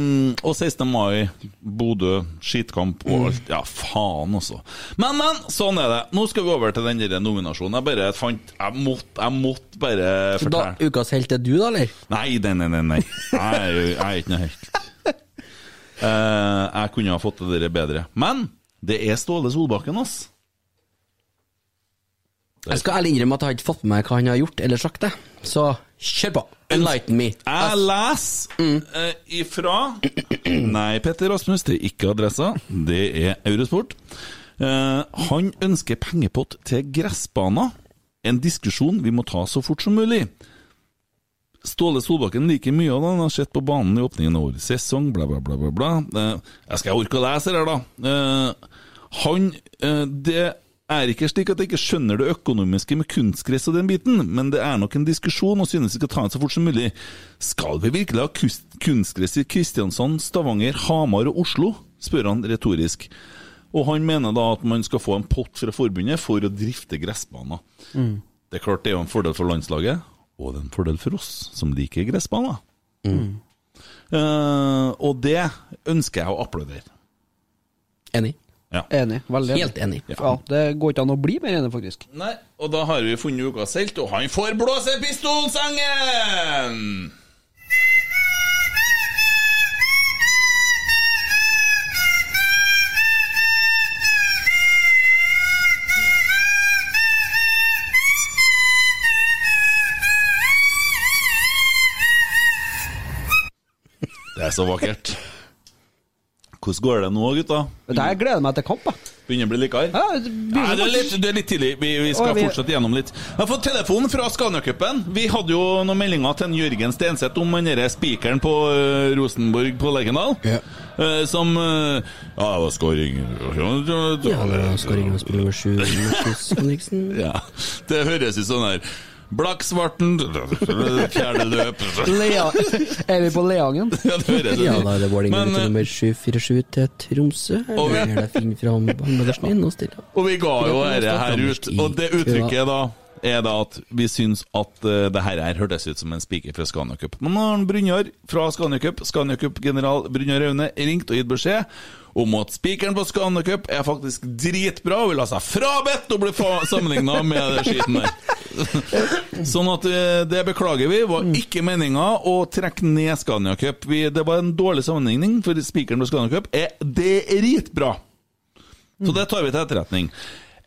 Og 16. mai, Bodø, skitkamp
Mm.
og alt. Ja, faen også. Men, men, sånn er det. Nå skal vi over til den der nominasjonen. Jeg bare fant Jeg måtte, jeg måtte bare
Så da,
fortelle.
ukas helt er du, da, eller?
Nei, nei, nei, nei, nei. Jeg er, jo- jeg er ikke noe helt Eh, Jeg kunne ha fått det der bedre. Men det er Ståle Solbakken, ass.
Jeg skal ærlig innrømme at jeg har ikke fått med meg hva han har gjort eller sagt, det. Så kjør på! Enlighten me.
Jeg leser eh, ifra Nei, Petter Rasmus, det er ikke adressa. Det er Eurosport. Eh, han ønsker pengepott til gressbaner. En diskusjon vi må ta så fort som mulig. Ståle Solbakken liker mye av det han har sett på banen i åpningen av årets sesong, bla, bla, bla. bla, bla. Eh, Jeg skal orke å lese det her, da. Eh, Han eh, Det er ikke slik at jeg ikke skjønner det økonomiske med kunstgress og den biten, men det er nok en diskusjon og synes vi skal ta det så fort som mulig. Skal vi virkelig ha kus- kunstgress i Kristiansand, Stavanger, Hamar og Oslo? spør han retorisk. Og han mener da at man skal få en pott fra forbundet for å drifte gressbaner.
Mm.
Det er klart det er jo en fordel for landslaget, og det er en fordel for oss som liker gressbaner. Eh, og det ønsker jeg å applaudere.
Enig.
Ja.
Enig. Veldig enig.
Helt enig.
Ja. det går ikke an å bli mer enig, faktisk.
Nei, og da har vi funnet ukas helt, og han får blåse pistolsangen! Det er så vakkert. Hvordan går det nå, gutta?
Det her gleder jeg meg til kamp, jeg.
Begynner å bli likere?
Ja, det
Nei,
begynner
det, er litt,
faktisk-
det er litt tidlig. Vi, vi skal
Å, vi-
fortsette gjennom litt. Jeg har fått telefon fra Scania-cupen. Vi hadde jo noen meldinger til en Jørgen Stenseth om den derre spikeren på ø, Rosenborg på Lerkendal. Ø, som ø, Ja, det var scoring Ja,
det var skåring og spiller med sju.
Ja, det høres ut sånn her Blakksvarten Fjerde løp
Lea- Er vi på Leangen?
Ja, det høres
Ja, da er det Vålerenga til nummer 747 til Tromsø.
Og vi-
Eller er det Finn fra Bangladesh inn og stille.
Og vi ga jo dette her ut, og det uttrykket da er da at vi syns at eh, det her her hørtes ut som en spiker fra Scania Cup. Men nå har han Brynjar fra Scania Cup, Scania Cup-general Brynjar Aune, ringt og gitt beskjed om at spikeren på Scania Cup er faktisk dritbra og vil ha seg frabedt og bli sammenligna med det skiten der. Sånn at eh, det beklager vi, var ikke meninga å trekke ned Scania Cup. Vi, det var en dårlig sammenligning, for spikeren på Scania Cup er dritbra. Så det tar vi til etterretning.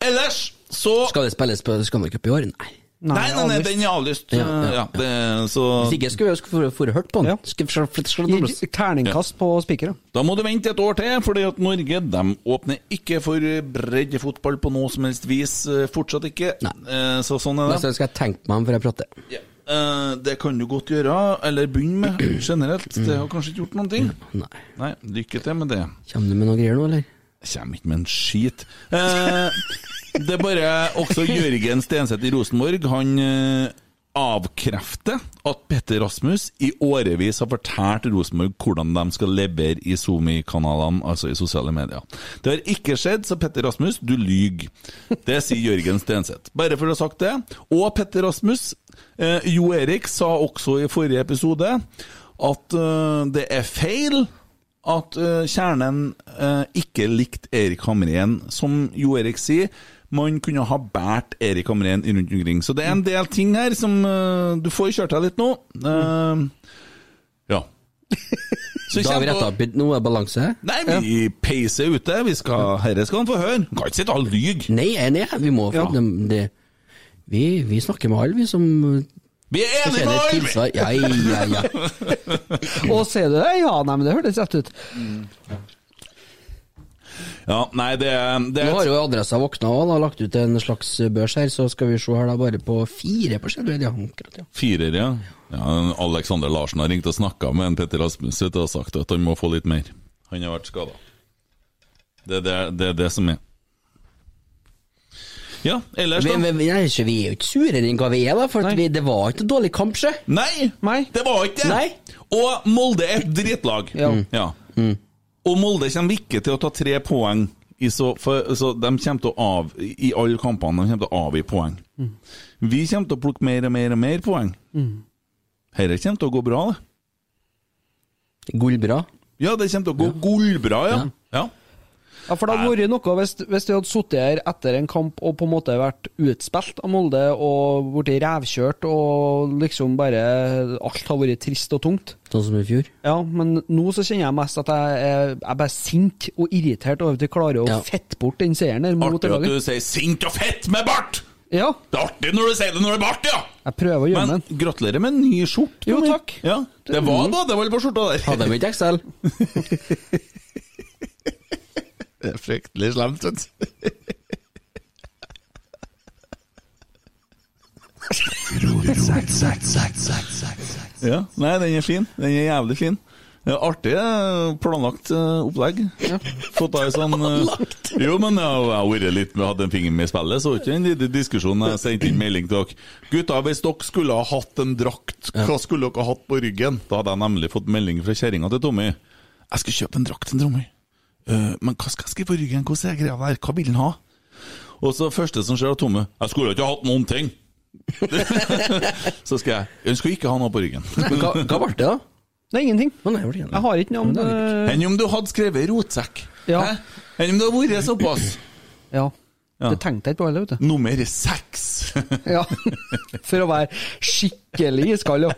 Ellers så
Skal det spilles på Scandic Cup i år? Nei.
Nei, nei, nei, den er avlyst.
Ja, ja,
Ja, det, så
Hvis ikke skulle jeg fått hørt på den. Skal- skal- skal-
Gi Terningkast på spikere.
Da må du vente et år til, fordi at Norge de åpner ikke for eh, breddefotball på noe som helst vis. eh, Fortsatt ikke. Eh, Så sånn er
Neste
det.
gang skal jeg tenke meg om før jeg prater.
Eh, Det kan du godt gjøre, eller begynne med generelt. Det har kanskje ikke gjort noen ting. Nei. lykke til med det.
Kommer du med noe greier nå, eller?
Kommer ikke med en skit. Eh, Det er bare også Jørgen Stenseth i Rosenborg. Han eh, avkrefter at Petter Rasmus i årevis har fortalt Rosenborg hvordan de skal levere i Zoomi-kanalene, altså i sosiale medier. Det har ikke skjedd, så Petter Rasmus, du lyger. Det sier Jørgen Stenseth. Bare for å ha sagt det. Og Petter Rasmus, eh, Jo Erik sa også i forrige episode at eh, det er feil at eh, kjernen eh, ikke likte Erik Hamren. Som Jo Erik sier, man kunne ha båret Erik Hamren rundt omkring. Så det er en del ting her som eh, Du får kjørt deg litt nå. Eh, ja. Så
Da har vi
kjenn på-
retta opp i noe balanse.
Nei, vi peiser ute. Vi skal, herre skal han få høre. Han kan ikke sitte og lyge.
Nei, jeg er enig. Vi må få dem- det, vi, vi snakker med alle, vi som
Vi er enige med alle, vi!
alle! Ja, ja, ja.
Og ser du det? Ja, nei, men det hørtes rett ut.
Ja, nei, det, det
Nå har jo adressa våkna og har lagt ut en slags børs her, så skal vi se her da bare på fire på skjermen. Ja, akkurat, ja.
Firer, ja. ja. Alexander Larsen har ringt og snakka med en Petter Rasmus vet du, og sagt at han må få litt mer. Han har vært skada. Det er det, det er det som er. Ja, ellers da?
Vi, vi, nei, så vi er jo ikke surere enn hva vi er, da, for at vi, det var ikke noe dårlig kamp, sjø.
Nei, det var ikke det! Og Molde er et drittlag. Ja. Mm. Og Molde kommer ikke til å ta tre poeng, i så, for, så de kommer til å av, i alle kampene de kommer til å avgi poeng. Vi kommer til å plukke mer og mer og mer poeng. Dette kommer til å gå bra, det.
Gullbra.
Ja, det kommer til å gå gullbra, ja. ja.
Ja, for det hadde vært noe hvis, hvis vi hadde sittet her etter en kamp og på en måte vært utspilt av Molde og blitt revkjørt og liksom bare Alt har vært trist og tungt.
Sånn som i fjor.
Ja, men nå så kjenner jeg mest at jeg er, jeg er bare sint og irritert over at vi klarer å fette bort den seieren der mot
Artig
det
at du
laget.
sier 'sint og fett med bart'!
Ja.
Det er artig når du sier det når det er bart, ja!
Jeg prøver å gjøre
Men gratulerer med en ny skjorte. Jo, takk. Ja, det var badevall på skjorta der.
Hadde de ikke XL?
Det er fryktelig slemt, vet du. Ja, nei, den er fin. Den er jævlig fin. Det er Artig eh, planlagt eh, opplegg. Fått av en sånn eh, Jo, men jeg har vært litt med hadde en finger med i spillet, så var ikke den lille diskusjonen jeg sendte inn melding til dere. Gutta, hvis dere skulle ha hatt en drakt, hva skulle dere ha hatt på ryggen? Da hadde jeg nemlig fått melding fra kjerringa til Tommy. Jeg skal kjøpe en drakt til Tommy. «Eh, men hva skal jeg skrive på ryggen? Hvordan er greia der? Hva vil han ha? Og så første som skjer av Tomme Jeg skulle ikke ha hatt noen ting Så skal jeg Jeg skulle ikke ha noe på ryggen
Men hva, hva ble det, da?
Nei, ingenting.
Jeg
har ikke noe om eh, det
Enn om du hadde skrevet rotsekk ja. Enn om du hadde vært såpass
Ja. Det tenkte jeg ikke på heller, vet du.
Nummer seks!
ja. For å være skikkelig iskald, jo.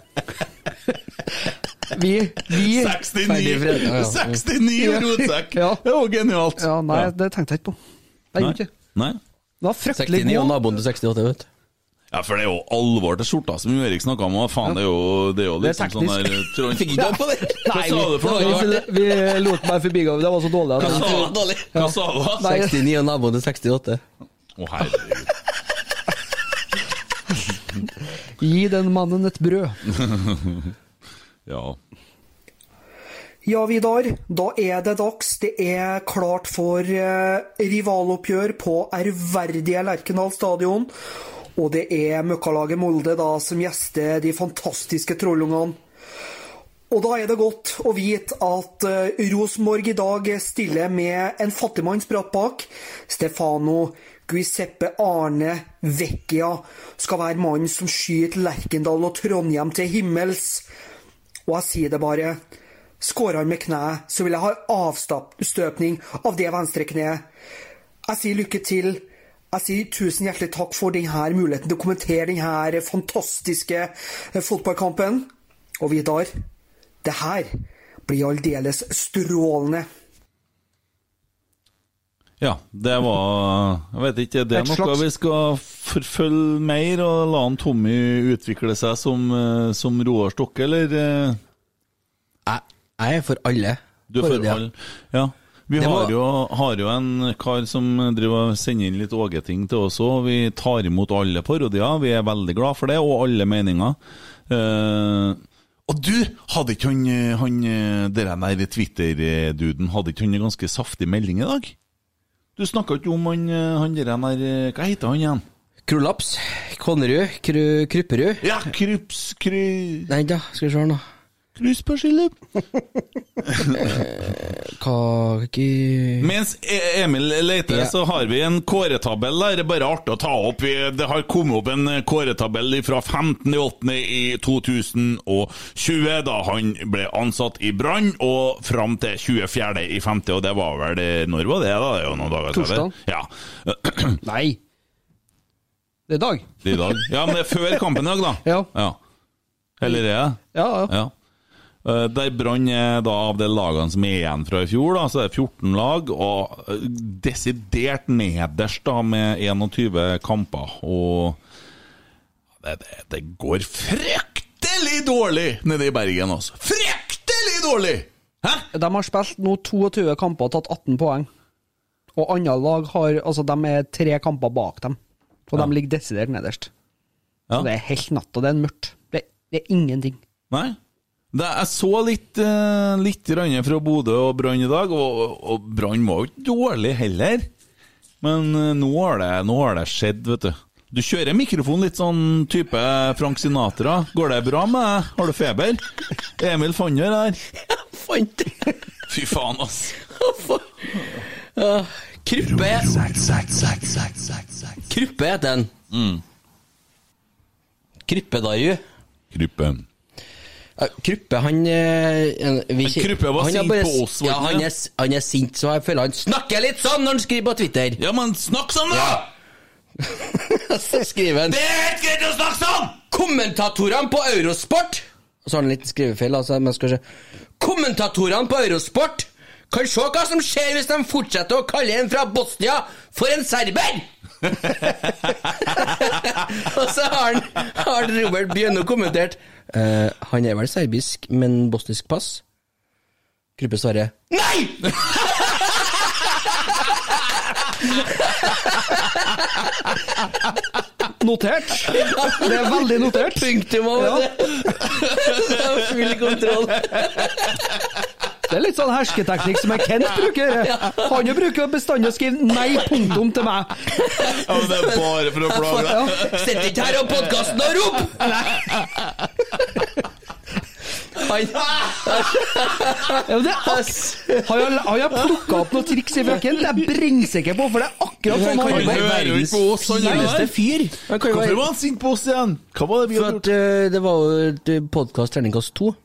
Vi, vi
69
Ferdig fred- ja, ja.
69
Ja.
rotsekk.
Ja.
Det var genialt!
Ja, nei,
Ja.
det tenkte jeg ikke på. Det gjorde jeg ikke.
Nei
Det var fryktelig
69 og
god.
naboen til 68, vet du.
Ja, for det er jo alvor til skjorta som Erik snakket om og Faen, det er jo, det er jo
Det er
liksom sånn
teknisk.
der Trond-
Fikk ikke opp på
det.
Hva sa du for noe?
vi, vi lot meg forbigå, det var så dårlig.
Hva
At
sa du?
Hva sa du? da?
69 og naboen til 68.
Å, herregud.
Gi den mannen et brød.
ja.
Ja, Vidar. Da er det dags. Det er klart for eh, rivaloppgjør på ærverdige Lerkendal stadion.
Og det er møkkalaget Molde da som gjester de fantastiske trollungene. Og da er det godt å vite at eh, Rosenborg i dag stiller med en fattigmann spratt bak. Stefano Guiseppe Arne Vecchia skal være mannen som skyter Lerkendal og Trondheim til himmels. Og jeg sier det bare. Skårer han med kneet, så vil jeg ha avstøpning av det venstre kneet. Jeg sier lykke til. Jeg sier tusen hjertelig takk for denne muligheten til å kommentere denne fantastiske eh, fotballkampen. Og Vidar, det her blir aldeles strålende.
Ja, det var Jeg vet ikke, det er
Et
noe
slags-
vi skal forfølge mer, og la han Tommy utvikle seg som, eh, som Roar Stokke, eller? eh? Jeg,
er for alle.
Du er
For
for
det, ja.
alle, ja. Vi
Det
har
var-
jo, har jo en kar som driver og sender inn litt Åge-ting til oss òg. Vi tar imot alle parodier, vi er veldig glad for det, og alle meninger. Eh, og du, hadde ikke han, han eh, det der der Twitter-duden Hadde ikke han en ganske saftig melding i dag? Du snakka ikke om han, eh, han der han der, eh, Hva heter han igjen?
Krolaps. Konnerud. Kru, Krupperud.
Ja, Krups... Kru...
Nei da, skal vi se her nå. Eh,
Krus på skylda.
Hva ikke-
Mens E- Emil leter,
Ja.
så har vi en kåretabell der. Det er bare artig å ta opp. Vi- Det har kommet opp en eh, kåretabell fra 15.8.2020, da han ble ansatt i Brann, og fram til 24.5., og det var vel det- Når var det, da? Det er jo noen dager siden.
Torsdag.
Ja.
Nei. Det er i dag.
I dag. Ja, men det er før kampen i dag, da.
Ja.
Eller er det?
Ja, ja.
Eh, Der Brann er da av de lagene som er igjen fra i fjor, da, så er det 14 lag, og eh, desidert nederst da med 21 kamper. Og det, det, det går fryktelig dårlig nede i Bergen, altså. Fryktelig dårlig!
De har spilt nå 22 kamper og tatt 18 poeng. Og andre lag har Altså, de er tre kamper bak dem. Og de ligger desidert nederst.
Ja.
Så det er helt natt, og det er mørkt. Det, det er ingenting.
Nei. Det, jeg så litt, eh, litt grann fra Bodø og Brann i dag, og, og Brann var jo ikke dårlig heller. Men eh, nå har, det, nå har det skjedd, vet du. Du kjører mikrofonen litt sånn type Frank Sinatra. Går det bra med deg? Har du feber? Emil Fannøy der. Fy faen, ass.
Ja, Kruppe Kruppe heter den.
Mm.
Kryppedaju.
Kryppe.
Kryppe, han eh, en- vi,
Men Kryppe var
han er
sint
bare-
på oss, var
Ja,
han
han
det?
er, s- han er sint, så jeg føler han snakker litt sånn når han skriver på Twitter.
Ja, men snakk sånn, da!
så skriver han Det
er helt greit å snakke sånn!
Kommentatorene på Eurosport Og så har han en liten skrivefeil, altså, men skal vi se. Kommentatorene på Eurosport kan se hva som skjer hvis de fortsetter å kalle en fra Bosnia for en serber! og så har, han, har Robert Bjønno kommentert eh, Han er vel serbisk, men bosnisk pass? Gruppe svarer
Notert! Det er veldig notert.
Punktum over det. Full kontroll.
Det er litt sånn hersketeknikk som jeg Kent bruker. Han jo bruker bestandig å skrive 'nei, punktum' til meg.
Ja, men det er bare for å plage deg.
Sitt ikke her og podkasten og rop! Han
Ja, men det er ak har jeg, har jeg plukka opp noen triks i bøkene? Det er jeg brennsikker på, for det er akkurat sånn
Han
han
hører jo ikke på oss, han der. Hvorfor var han sint på oss igjen? Hva var det vi
For
hadde
at eh, det var jo podkast terningkast to.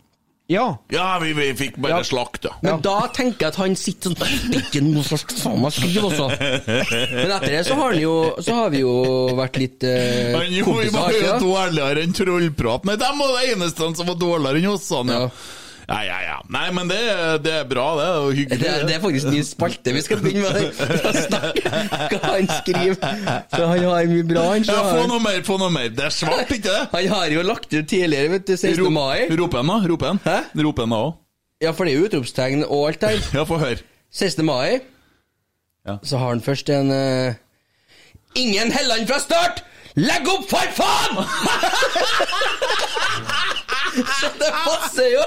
Ja.
Ja, vi, vi fikk bare slakt, da.
Men da tenker jeg at han sitter sånn Det er ikke noe slags faen meg skriv også. Men etter det så har, han jo, så har vi jo vært litt eh,
Men jo, vi
kompiser.
var jo
ikke sant?
to ærligere enn trollprat. Nei, de var de eneste som var dårligere enn oss, han, ja. Ja, ja, ja. Nei, men det, det er bra, det. er jo hyggelig.
Det, er- det er faktisk en ny spalte vi skal begynne med. Hva han skriver. For han har mye bra, han. så
Ja, få
han-
noe mer, få noe mer. Det er svart, ikke det?
Han har jo lagt ut tidligere, vet du. 16.
Rop-
mai.
Rop en, da. Rop en. Hæ? Rop en, da òg.
Ja, for det er jo utropstegn og alt der.
Ja, få høre.
16. mai, så har han først en eh, Ingen Helland fra start! Legg opp, for faen!
Så det passer jo!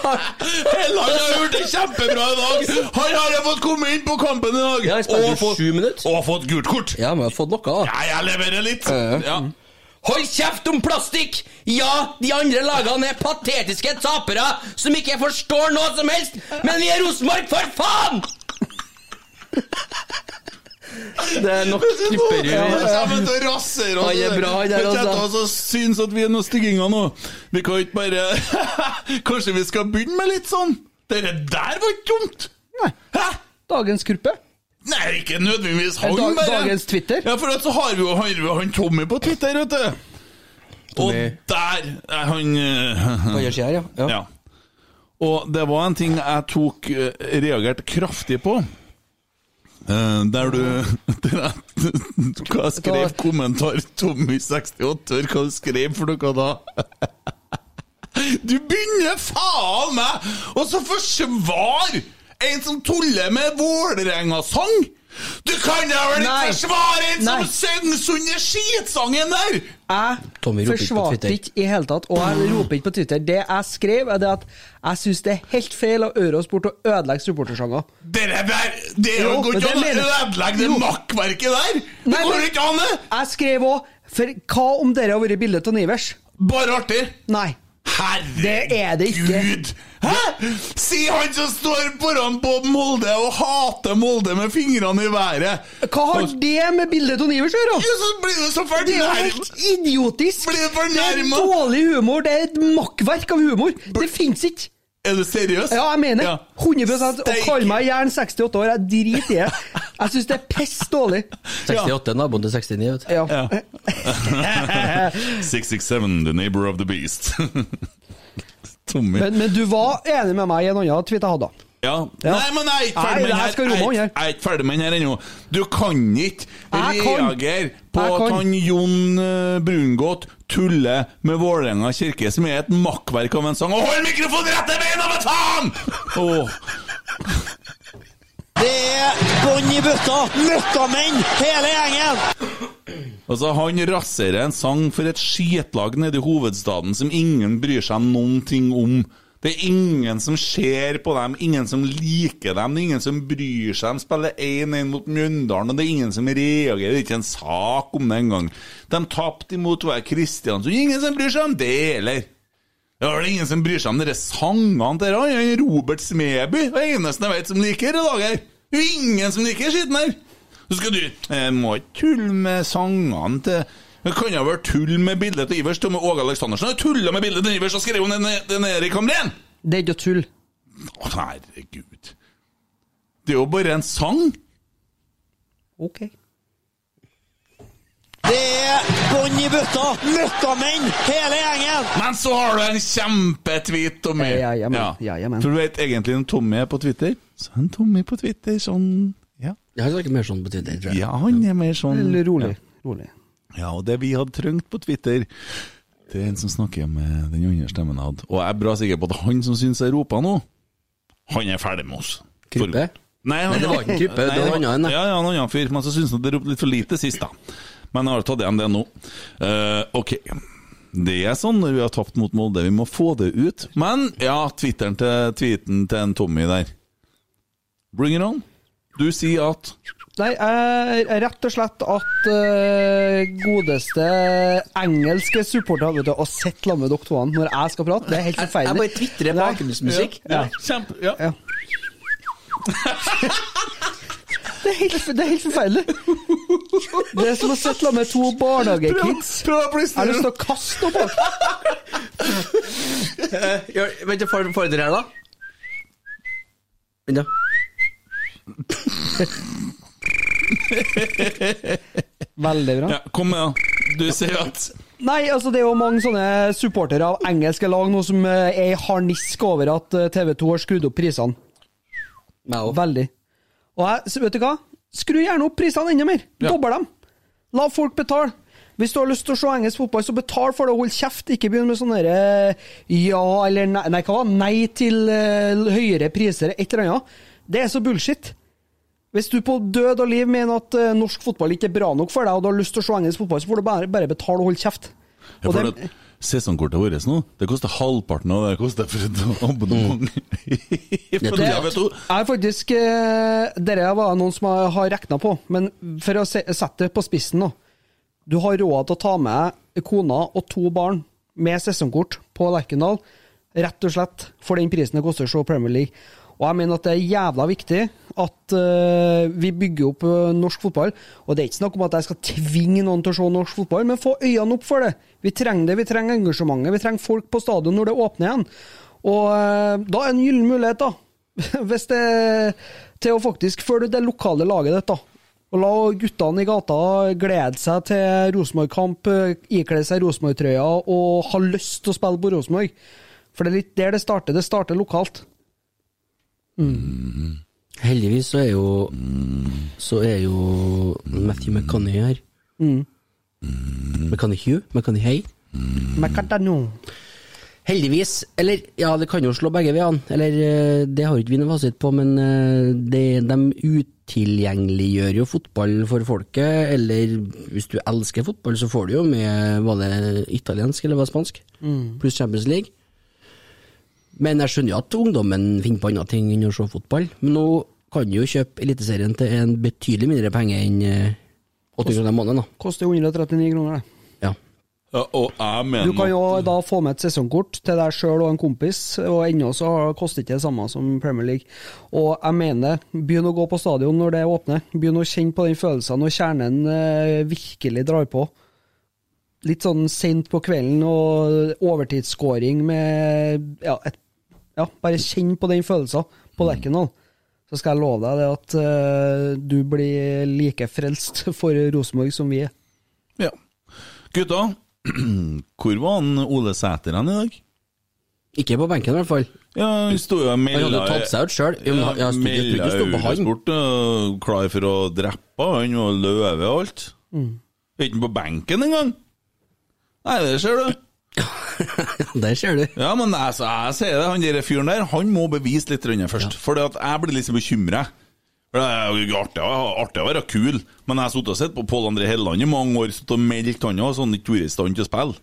Helland har gjort det kjempebra i dag! Han har jeg fått komme inn på kampen i dag!
spilte jo
sju minutter. Og fått gult kort!
Ja, men jeg har fått noe, da. Mm.
Ja, jeg leverer litt. Ja.
Hold kjeft om plastikk! Ja, de andre lagene er patetiske tapere som ikke forstår noe som helst, men vi er Rosenborg, for faen! Det er nok klipperud.
Ja, men da raser han.
Han er bra, han der,
altså.
altså.
altså syns at vi er noen stygginger nå. Vi kan ikke bare Kanskje vi skal begynne med litt sånn? Dere der var ikke dumt! Nei. Hæ?
Dagens gruppe.
Nei, ikke nødvendigvis han,
Dag-
bare.
dagens
Twitter. Ja, for at så har vi jo har vi jo han Tommy på Twitter, vet du. Og der er han eh, Han
gjør seg her, ja.
Og det var en ting jeg tok eh, reagerte kraftig på. Eh, der du der jeg, Hva jeg skrev kommentar Tommy68, hva du skrev for noe da? Du begynner faen meg Og så forsvar En som tuller med Vålerenga-sang Du kan da vel ikke
Nei.
forsvare En
Nei.
som synger sunne skitsangen der
Jeg
roper ikke på
forsvarte
Twitter.
ikke i hele tatt, og jeg roper ikke på Twitter. Det jeg skrev, er det at jeg syns det er helt feil av Eurosport å ødelegge supportersjanger.
Dere der Det er jo
Jo,
går ikke
det
an å
mener-
ødelegge det
Jo.
makkverket der
Nei,
Det går
men-
ikke an det
Jeg skrev òg For hva om dere har vært bildet av Nivers?
Bare artig.
Nei.
Herregud
Det er det ikke.
Hæ? Si han som står foran Bob Molde Og hater Molde med fingrene i været
Hva har det med bildet av Nivers å gjøre?
Ja, så blir det så fornærmet.
Det er jo helt idiotisk!
Blir det fornærmet?
Det er dårlig humor. Det er et makkverk av humor. Det fins ikke.
Er du seriøs?
Ja, jeg mener
Ja.
100 Og
Steik.
kall meg gjerne 68 år, jeg driter i det. Jeg syns det er piss dårlig.
68 naboen til 69, vet du.
Ja.
667, the neighbor of the beast. Tommy.
Men, men du var enig med meg i en annen tweet jeg hadde.
ja.
Ja.
Nei, men jeg er ikke ferdig med
Nei, det
den
her
her.
skal romme
Jeg-
han gjøre.
Jeg er ikke ferdig med den her ennå. Du kan ikke
Jeg kan.
reagere på
Jeg
at
kan.
han Jon eh, Brungot tuller med Vålerenga kirke, som er et makkverk av en sang. Og hold mikrofonen rett i beina, men faen! Åh.
Det er bånn i bøtta! Møkkamenn, hele gjengen!
Altså, han raserer en sang for et skitlag nede i hovedstaden som ingen bryr seg noen ting om. Det er ingen som ser på dem, ingen som liker dem, det er ingen som bryr seg. De spiller 1-1 mot Mjøndalen, og det er ingen som reagerer. Det er ikke en sak om det engang. De tapte imot hver Kristiansund. Ingen som bryr seg om det heller. Det er vel ingen som bryr seg om dere sangene til han han Robert Smeby. Det er eneste jeg vet som liker det i dag her. Det er ingen som liker skitten her. Så skal du Jeg må ikke tulle med sangene til Det kan jo være tull med bildet til Ivers. Til og med Åge Aleksandersen har tulla med bildet til Ivers og skrevet om den, den Erik Hamren!
Det er ikke tull.
Å, herregud. Det er jo bare en sang.
Ok.
Det er bånn i bøtta! Møkkamenn, hele gjengen!
Men så har du en kjempetweet, Tommy.
Ja, ja, men. Ja, ja, men.
For du vet egentlig når Tommy er på Twitter, så er han Tommy på Twitter sånn Ja.
Jeg snakker mer sånn på Twitter, tror jeg.
Ja, han er mer sånn
Eller rolig. Rolig.
Ja, og det vi hadde trengt på Twitter Det er en som snakker med den andre stemmen jeg hadde. Og jeg er bra sikker på at han som syns jeg roper nå, han er ferdig med oss. Krype? Nei,
Nei, det var ikke en krype, det var en annen, da.
Ja, ja, en annen fyr. Men så syns han det ropte litt for lite sist, da. Men jeg har tatt igjen det nå. Eh, ok. Det er sånn når vi har tapt mot Molde, vi må få det ut. Men ja, Twitteren til, tweeten til en Tommy der. Bring it on. Du sier at
Nei, eh, rett og slett at eh, godeste engelske supporter vet du, har sett sammen med dere to andre når jeg skal prate. Det er helt forferdelig.
Jeg bare tvitrer
Nei.
bakgrunnsmusikk.
Ja.
Kjempe, ja.
Det, er helt, det er helt forferdelig. Det er som å sitte sammen med to barnehagekids.
Prøv å bli
Jeg har lyst til å kaste noe bak.
Eh, gjør- Vent, jeg får får dere her, da? Vent, da.
Veldig bra.
Ja, kom med, da. Du sier at
Nei, altså det er jo mange sånne supportere av engelske lag nå som eh, er i harnisk over at eh, TV 2 har skrudd opp prisene. Veldig. Og jeg, så vet du hva? Skru gjerne opp prisene enda mer. Dobbel dem. La folk betale. Hvis du har lyst til å se engelsk fotball, så betal for det. Hold kjeft. Ikke begynn med sånne derre ja eller nei Nei, hva var det? Nei til eh, høyere priser, et eller annet. Det er så bullshit. Hvis du på død og liv mener at eh, norsk fotball ikke er bra nok for deg, og du har lyst til å se engelsk fotball, så får du bare, bare betale og holde kjeft.
Ja,
Og
for
det,
det, sesongkortet vårt nå, det koster halvparten av det det koster for et abonnement.
Mm.
For det, vet du,
er faktisk eh, Dette var noen som har- har regna på, men for å se, sette det på spissen nå Du har råd til å ta med kona og to barn med sesongkort på Lerkendal, rett og slett for den prisen det koster å se Premier League. Og jeg mener at det er jævla viktig at eh, vi bygger opp eh, norsk fotball. Og det er ikke snakk om at jeg skal tvinge noen til å se norsk fotball, men få øynene opp for det. Vi trenger det, vi trenger engasjementet, vi trenger folk på stadion når det åpner igjen. Og eh, da er det en gyllen mulighet, da. Hvis det Til å faktisk følge det lokale laget ditt, da. Og la guttene i gata glede seg til Rosenborg-kamp, eh, ikle seg Rosenborg-trøya og ha lyst til å spille på Rosenborg. For det er litt der det starter. Det starter lokalt.
Mm.
Heldigvis så er jo Så er jo Matthew McConney her.
嗯
Mm.
McConney Hugh? McConney Hay?
Mm. Macadano.
Heldigvis, eller ja, det kan jo slå begge veiene. Eller eh, det har jo ikke vi noe fasit på, men eh, det, de utilgjengeliggjør jo fotball for folket. Eller hvis du elsker fotball, så får du jo med Var det italiensk eller var det spansk?
嗯
Mm.
Pluss Champions League. Men jeg skjønner jo at ungdommen finner på andre ting enn å se fotball. Men nå kan du jo kjøpe Eliteserien til en betydelig mindre penge enn eh, 80 kroner i måneden, da.
Koster jo 139 kroner, det.
ja, og jeg mener
Du kan jo da få med et sesongkort til deg sjøl og en kompis, og ennå så har- koster ikke det samme som Premier League. Og jeg mener, begynn å gå på stadion når det åpner. Begynn å kjenne på den følelsen når kjernen eh, virkelig drar på. Litt sånn seint på kvelden og overtidsscoring med ja, et, ja, bare kjenn på den følelsen på Lerkendal. Så skal jeg love deg det at eh, du blir like frelst for Rosenborg som vi er.
Gutta, hvor var han Ole Sæter hen i dag?
Ikke på benken, i hvert fall.
Ja, han sto jo og melda
Han hadde tatt seg ut selv. Jo, men han- ja, jeg tror ikke det sto på han.
Eurosport øh, klar for å drepe han og løve og alt.
Mm.
Er ikke han på benken engang? Nei, det ser du.
Der ser du.
Ja, men altså, jeg sier det, han der fyren der, han må bevise litt rundt først. Fordi at jeg blir liksom bekymra. Det er jo artig, å- artig å være kul, men jeg har sittet og sett på Pål André Helleland i mange år suttet og meldt han òg, så han ikke vært i stand til å spille.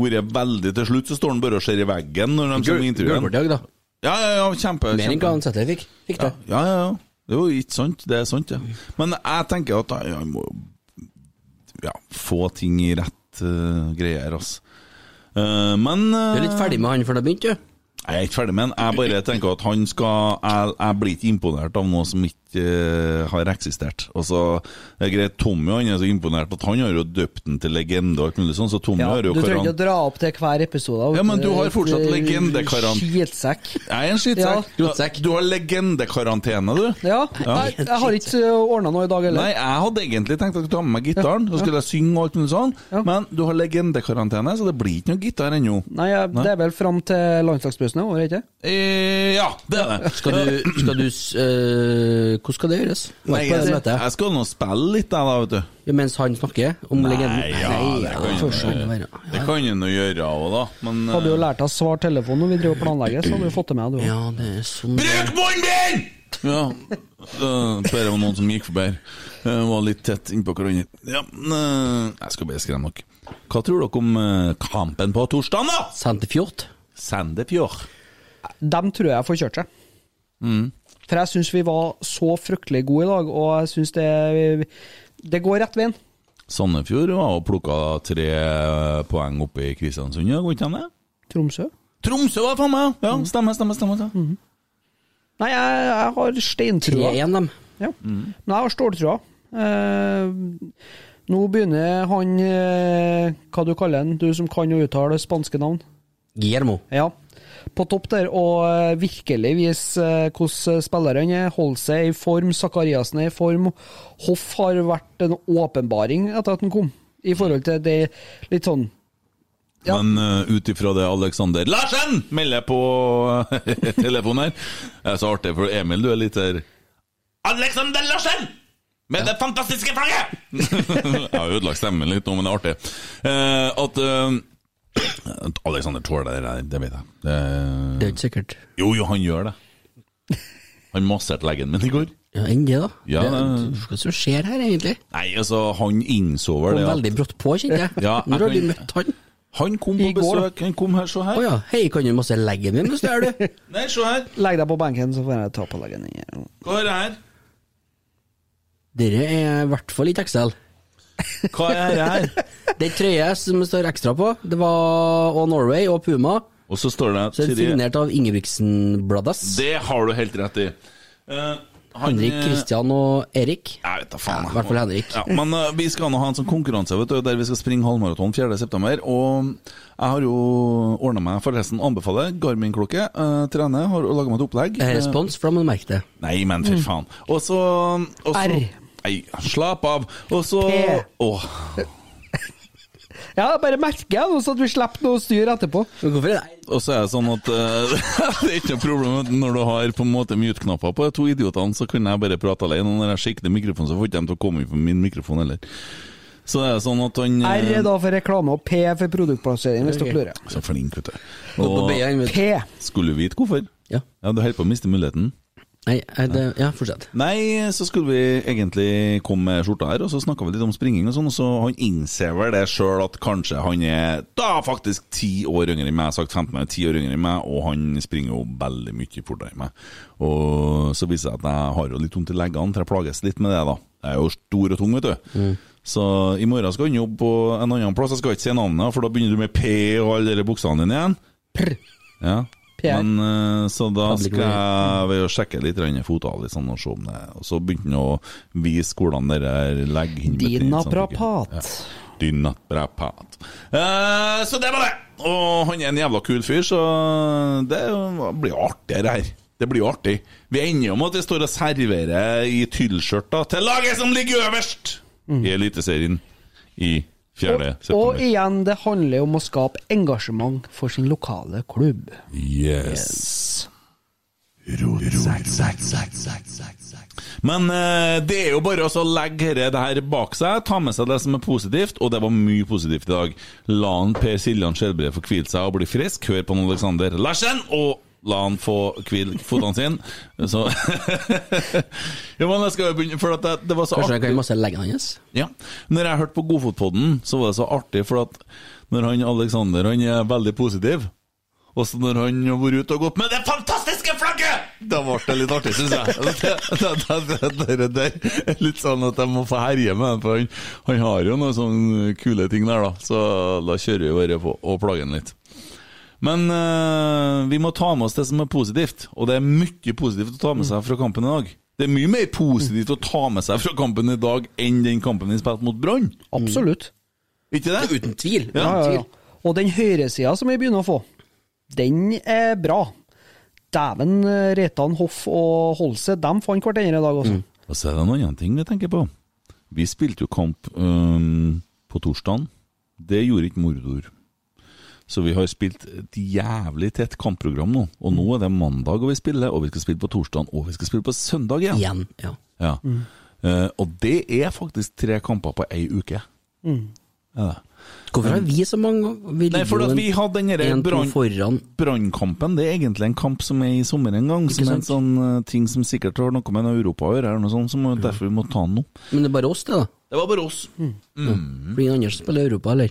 Vært veldig til slutt, så står han bare og ser i veggen når de kommer i intervjuet.
Gulbert-dag, da.
Ja, ja, ja, kjempe,
Mer enn
kjempe.
hva han Sæther fikk. Fikk det.
Ja, ja, ja. Det er jo ikke sant. Det er sant, ja. Men jeg tenker at jeg jeg må ja, få ting i rett eh, greier, altså. Eh, men
Du er litt ferdig med han før du har begynt, du?
Jeg er ikke ferdig med han. Jeg bare tenker at han skal Jeg, jeg blir ikke imponert av noe som ikke eh, har eksistert. Altså, det er greit, Tommy han er så imponert at han har jo døpt den til legende og alt mulig sånn, så Tommy har
Du
jo
trenger
karan-
ikke å dra opp til hver episode.
Ja, men du har
Et,
fortsatt
eh,
legendekaran-
Skitsekk.
Jeg er en skittsekk.
Ja.
Du- Du har legendekarantene, du.
Ja, jeg, jeg har ikke ordna noe i dag heller.
Nei, jeg hadde egentlig tenkt at jeg skulle ta med meg gitaren, så skulle jeg synge og alt mulig sånn, men du har legendekarantene, så det blir ikke noe gitar ennå.
Nei, jeg,
Nei.
Det er vel fram til landslagsbussen er over, ikke
Eh, ja, det er det.
Skal du, skal du s- eh, Hvordan skal det gjøres?
Nei,
Hva
jeg,
er det som heter?
jeg skal nå spille litt, jeg, da, vet du.
Ja, mens han snakker om
Nei,
legenden?
ja, det kan
ja,
jo
for sånn
være.
være.
Det kan en jo gjøre òg, da, men eh,
Hadde jo lært deg å svare telefonen når vi driver og planlegger, så hadde du fått det med, du
Ja, det er sånn
Bruk munnen din! Ja, eh, bare det var noen som gikk forbi her. Eh, var litt tett innpå hverandre. Ja, eh, jeg skal bare skremme dere. Hva tror dere om eh, kampen på torsdag, da?
Sandefjord.
Sandefjord. Mm.
Dem tror jeg får kjørt seg. For jeg syns vi var så fryktelig gode i dag, og jeg syns det Det går rett veien.
Sandefjord var og plukka tre eh, poeng oppe i Kristiansund, ja, går ikke han det?
Tromsø? Mm. Mm-hmm.
Tromsø var faen meg, ja. Stemmer, stemmer. stemmer,
Nei, jeg, jeg har steintrua.
3-1, dem.
Ja.
Mm.
Men jeg har ståltrua. Eh, nå begynner han eh, Hva du kaller han, du som kan å uttale spanske navn?
Guillermo.
Ja. På topp der, og eh, virkelig vise eh, hvordan spillerne er. Holde seg i form. Sakariassen er i form. Hoff har vært en åpenbaring etter at han kom, i forhold til det litt sånn
Men uh, ut ifra det Alexander Larsen melder på eh, telefonen her Det er så artig, for Emil, du er litt der Alexander Larsen! Med det fantastiske flagget! Jeg har ødelagt stemmen litt nå, men det er artig. Eh, at eh, at Alexander tåler det der, det vet jeg. Det,
Det er ikke sikkert.
Jo, jo, han gjør det. Han masserte leggen min i går.
Ja, Enn det, da.
Ja,
det,
det-
hva er det som skjer her, egentlig?
Nei, altså, han innså
Kom
vel det at-
veldig brått på, kjente jeg.
Ja,
Når har
jeg
du
kan-
møtt han?
Han kom på
I går, da.
besøk, han kom her, se her.
Å ja. Hei, kan du masse leggen min, hvis du gjør det?
Nei, se her.
Legg deg på benken, så får jeg ta på leggen din. her.
Hva er det her?
Dere er i hvert fall ikke XL.
Hva er det her?
Det er en trøye som det står ekstra på. Det var Og Norway og Puma.
Og så står det
Så er det
Siri-
signert av Ingebrigtsen Brothers.
Det har du helt rett i. Eh, han-
Henrik, Kristian og Erik.
Jeg vet da faen.
Ja, I hvert fall Henrik.
Ja, men eh, vi skal nå ha en sånn konkurranse vet du, der vi skal springe halvmaraton 4.9. Og jeg har jo ordna meg, forresten anbefaler Garmin-klokke. eh, trener, har laga meg et opplegg.
Eh,
Eh,
Respons, for da må du merke det.
Nei, men for
Mm.
faen. Og så og så-
R.
Nei, slapp av. Og så
P.
Åh.
Ja, bare merker jeg nå, så at vi slipper noe styr etterpå.
Og så er det sånn at eh, det er ikke noe problem at når du har på en måte mute-knapper på de to idiotene, så kunne jeg bare prate alene. Og når jeg skikter mikrofonen, så får ikke de til å komme inn på min mikrofon heller. Så det er sånn at han eh,
R er da for reklame, og P er for produktplassering, hvis dere lurer.
Så flink, vet du.
Gå på B-en, vet du. P.
Skulle du vite hvorfor?
Ja.
Du holder på å miste muligheten.
Nei, eh, det, ja, fortsett.
Nei, så skulle vi egentlig komme med skjorta her, og så snakka vi litt om springing og sånn, og så han innser vel det sjøl at kanskje han er da faktisk ti år yngre enn meg, jeg har sagt 15 år, ti år yngre enn meg, og han springer jo veldig mye fortere enn meg. Og så viser det seg at jeg har jo litt vondt i leggene, for jeg plages litt med det, da. Jeg er jo stor og tung, vet du. Så i morgen skal han jobbe på en annen plass, jeg skal ikke si navnet, for da begynner du med P og alle de buksene dine igjen. Ja.
PR.
Men eh, så da
Public
skal jeg ved å sjekke litt grann fotavlisene og se om det Og så begynte han å vise hvordan det der sånn. legger inn
Dinaprapat.
Dinaprapat. Eh, så det var det! Og han er en jævla kul fyr, så det blir jo artig, det her. Det blir jo artig. Vi ender jo med at vi står og serverer i tyllskjørter til laget som ligger øverst i Eliteserien i 4.
Mm. Og
september.
igjen, det handler om å skape engasjement for sin lokale klubb.
Yes. Men eh, det er jo bare også å legge herre- det her bak seg, ta med seg det som er positivt, og det var mye positivt i dag. La han Per Siljan Skjelbred få hvile seg og bli frisk, hør på han Alexander Larsen, og la han få hvile fotene sine. Så Jo, men jeg skal jo begynne, for at det, det var så
Kanskje jeg
artig
kan masse leggen hans?
ja. Når jeg hørte på Godfotpodden, så var det så artig, for at når han Alexander han er veldig positiv, og så når han har vært ute og gått med det fantastiske flagget, da ble det litt artig, syns jeg. Det, det, det, det, det, det er litt sånn at jeg må få herje med ham, for han, han har jo noen sånne kule ting der, da. Så da kjører vi bare på og plager han litt. Men eh, vi må ta med oss det som er positivt, og det er mye positivt å ta med seg
Mm.
fra kampen i dag. Det er mye mer positivt å ta med seg fra kampen i dag enn den kampen vi spilte mot Brann. Mm.
Absolutt.
Ikke det?
Uten tvil.
Ja, ja, ja. Og den høyresida som vi begynner å få, den er bra. Dæven, eh, Reitan, Hoff og Holse, de fant hverandre i dag også.
Og så er det en annen ting vi tenker på. Vi spilte jo kamp øhm, på torsdagen. Det gjorde ikke Mordor. Så vi har spilt et jævlig tett kampprogram nå. Og nå er det mandag og vi spiller, og vi skal spille på torsdagen, og vi skal spille på søndag igjen.
Igjen, ja.
Ja.
Mm.
Eh, og det er faktisk tre kamper på ei uke. Ja.
Hvorfor har vi så mange? Vi
Nei, for
ligger jo
at
en-
vi hadde den derre
en, to
brann-
foran.
Brannkampen det er egentlig en kamp som er i sommer en gang, som er en sånn eh, ting som sikkert har noe med en Europa å gjøre, eller noe sånt, som er derfor vi må ta den nå.
Men det er bare oss, det, da.
Det var bare oss. Mm.
Blir ingen andre som spiller i Europa, eller?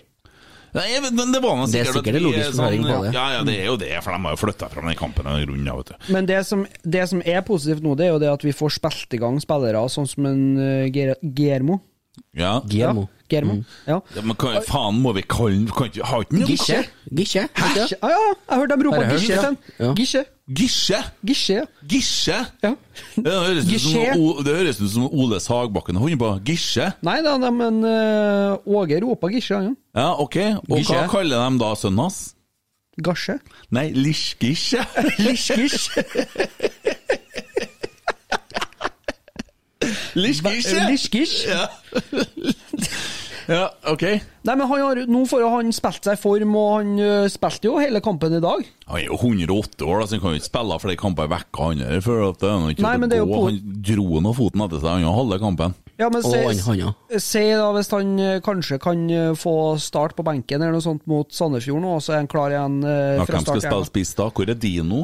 Nei, jeg vet- men det var nå
Det er
sikkert at
sikkert en
vi
logisk
sånn-
forklaring på det.
Ja, ja, det er jo det, for de har jo flytta fram den kampen av grunn av, vet du.
Men det som, det som er positivt nå, det er jo det at vi får spilt i gang spillere, sånn som en eh, Ger Germo.
Ja.
Germo. Ja, Germo.
Mm.
Ja.
Ja, men hva faen må vi kalle den? Kan ikke- Har ikke den
Gisje.
Gisje?
Hæ? Ah, ja, jeg hørte dem rope
Bare hørt,
Gisje.
ja.
Sten.
Ja.
Gisje.
Gisje?
Gisje, ja.
Gisje? Det høres ut
Gisje.
som, O- det høres ut som Ole Sagbakken og han på Gisje.
Nei da, nei, men eh, Åge ropa Gisje, han ja.
Ja, ok. Og hva
Gisje.
kaller de da sønnen hans?
Gasje.
Nei, Lisjgisje.
Lisjgisje.
Lisjgisje.
Lisjgisj.
Ja. ja, ok.
Nei, men han har, nå får jo han spilt seg i form, og han eh, spilte jo hele kampen i dag.
Han er jo 108 år, da, så han kan jo ikke spille flere kamper i vekka. Han er for at det er noe ikke
Nei, men det er jo
å gå.
på-
Han dro nå foten etter seg, han har halve kampen.
Ja, men se, se da hvis han eh, kanskje kan eh, få start på benken eller noe sånt mot Sandefjord nå, og så er han klar igjen eh,
Ja, hvem
fra
skal
start.
spille
igjen.
spiss da? Hvor er Dino?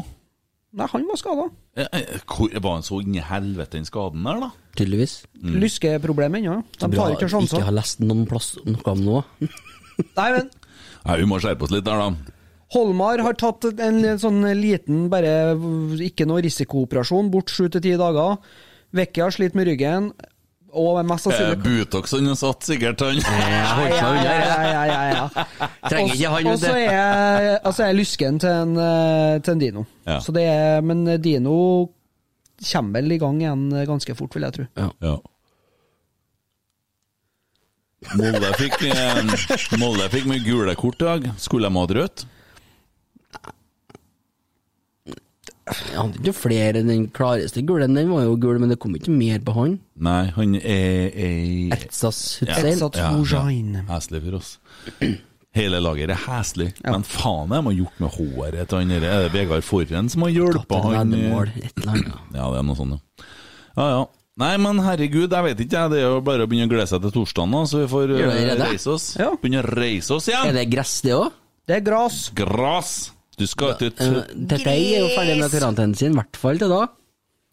Nei, han var skada.
Eh, eh, Hvor, var han så inn i helvete den skaden der, da?
Tydeligvis.
Mm.
Lyskeproblemet ennå. ja.
Så
De
bra
tar ikke
Ikke
sjanser.
har lest noen plass noe om noe.
Nei, men
Nei, vi må skjerpe oss litt der, da.
Holmar har tatt en sånn liten, bare ikke noe risikooperasjon, bort sju til ti dager. Vekke har slitt med ryggen, og mest
Eh,
sannsynlig
Butoxen har satt sikkert han.
ja, ja, ja, ja.
Trenger ikke han,
Og så er
vet du.
jeg- altså, jeg er lysken til en, eh, til en Dino.
Ja.
Så det er, men Dino kommer vel i gang igjen ganske fort, vil jeg tro.
Ja. Molde fikk, eh, Molde fikk mye gule kort i dag. Skulle de ha hatt rødt?
Jeg hadde ikke flere enn den klareste gule. Den var jo gul, men det kom ikke mer på han.
Nei, han er ei
Ertsas
Ja.
Hussein.
Ja, ja. Heslig for oss. Hele laget er heslig, men faen de har gjort med håret til han der. Er det Vegard Forren som har hjulpet han?
veddemål,
eh? Ja, det er noe sånt, ja. Ja, ja. Nei, men herregud, jeg vet ikke, jeg. Det er jo bare å begynne å glede seg til torsdagen, da, så vi får
Gjør
eh,
dere det?
reise oss. Begynne å reise oss igjen!
Er det gress, det òg?
Det er gress.
Gress! Du skal ikke ut
Eh, Tete er jo ferdig med karantenen sin, i hvert fall til da.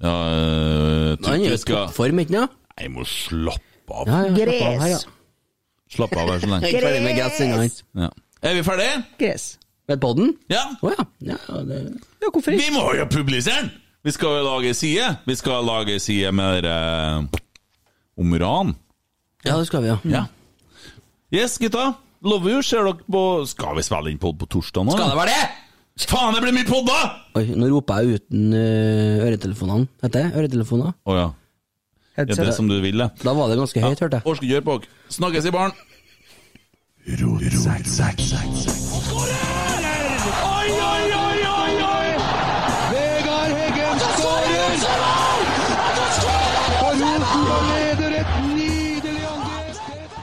Ja, eh,
Han er jo i toppform, ikke sant?
Nei, må slappe av.
Ja, ja, slapp av her, ja.
Slapp av her så lenge.
Jeg er ferdig med gress ennå, han.
Ja. Er vi ferdige?
Gress.
Med podden?
Ja.
Å ja. ja det...
Vi må jo publisere den! Vi skal jo lage side. Vi skal lage side med dere om ran.
Ja, det skal vi, ja.
Yes, gutta. Lover jo, ser dere på Skal vi spille inn podd på torsdag nå?
Skal det være det?
Faen, det blir mye podd, da!
Oi, nå roper jeg uten eh, øretelefonene. Heter det øretelefoner?
Å ja. Er det som du vil, det?
Da var det ganske høyt, hørte jeg.
Orske gjør på. Snakkes i baren.
Oi, oi, oi, oi, oi! Vegard Heggen skårer! Og Rosenborg leder et nydelig angrep!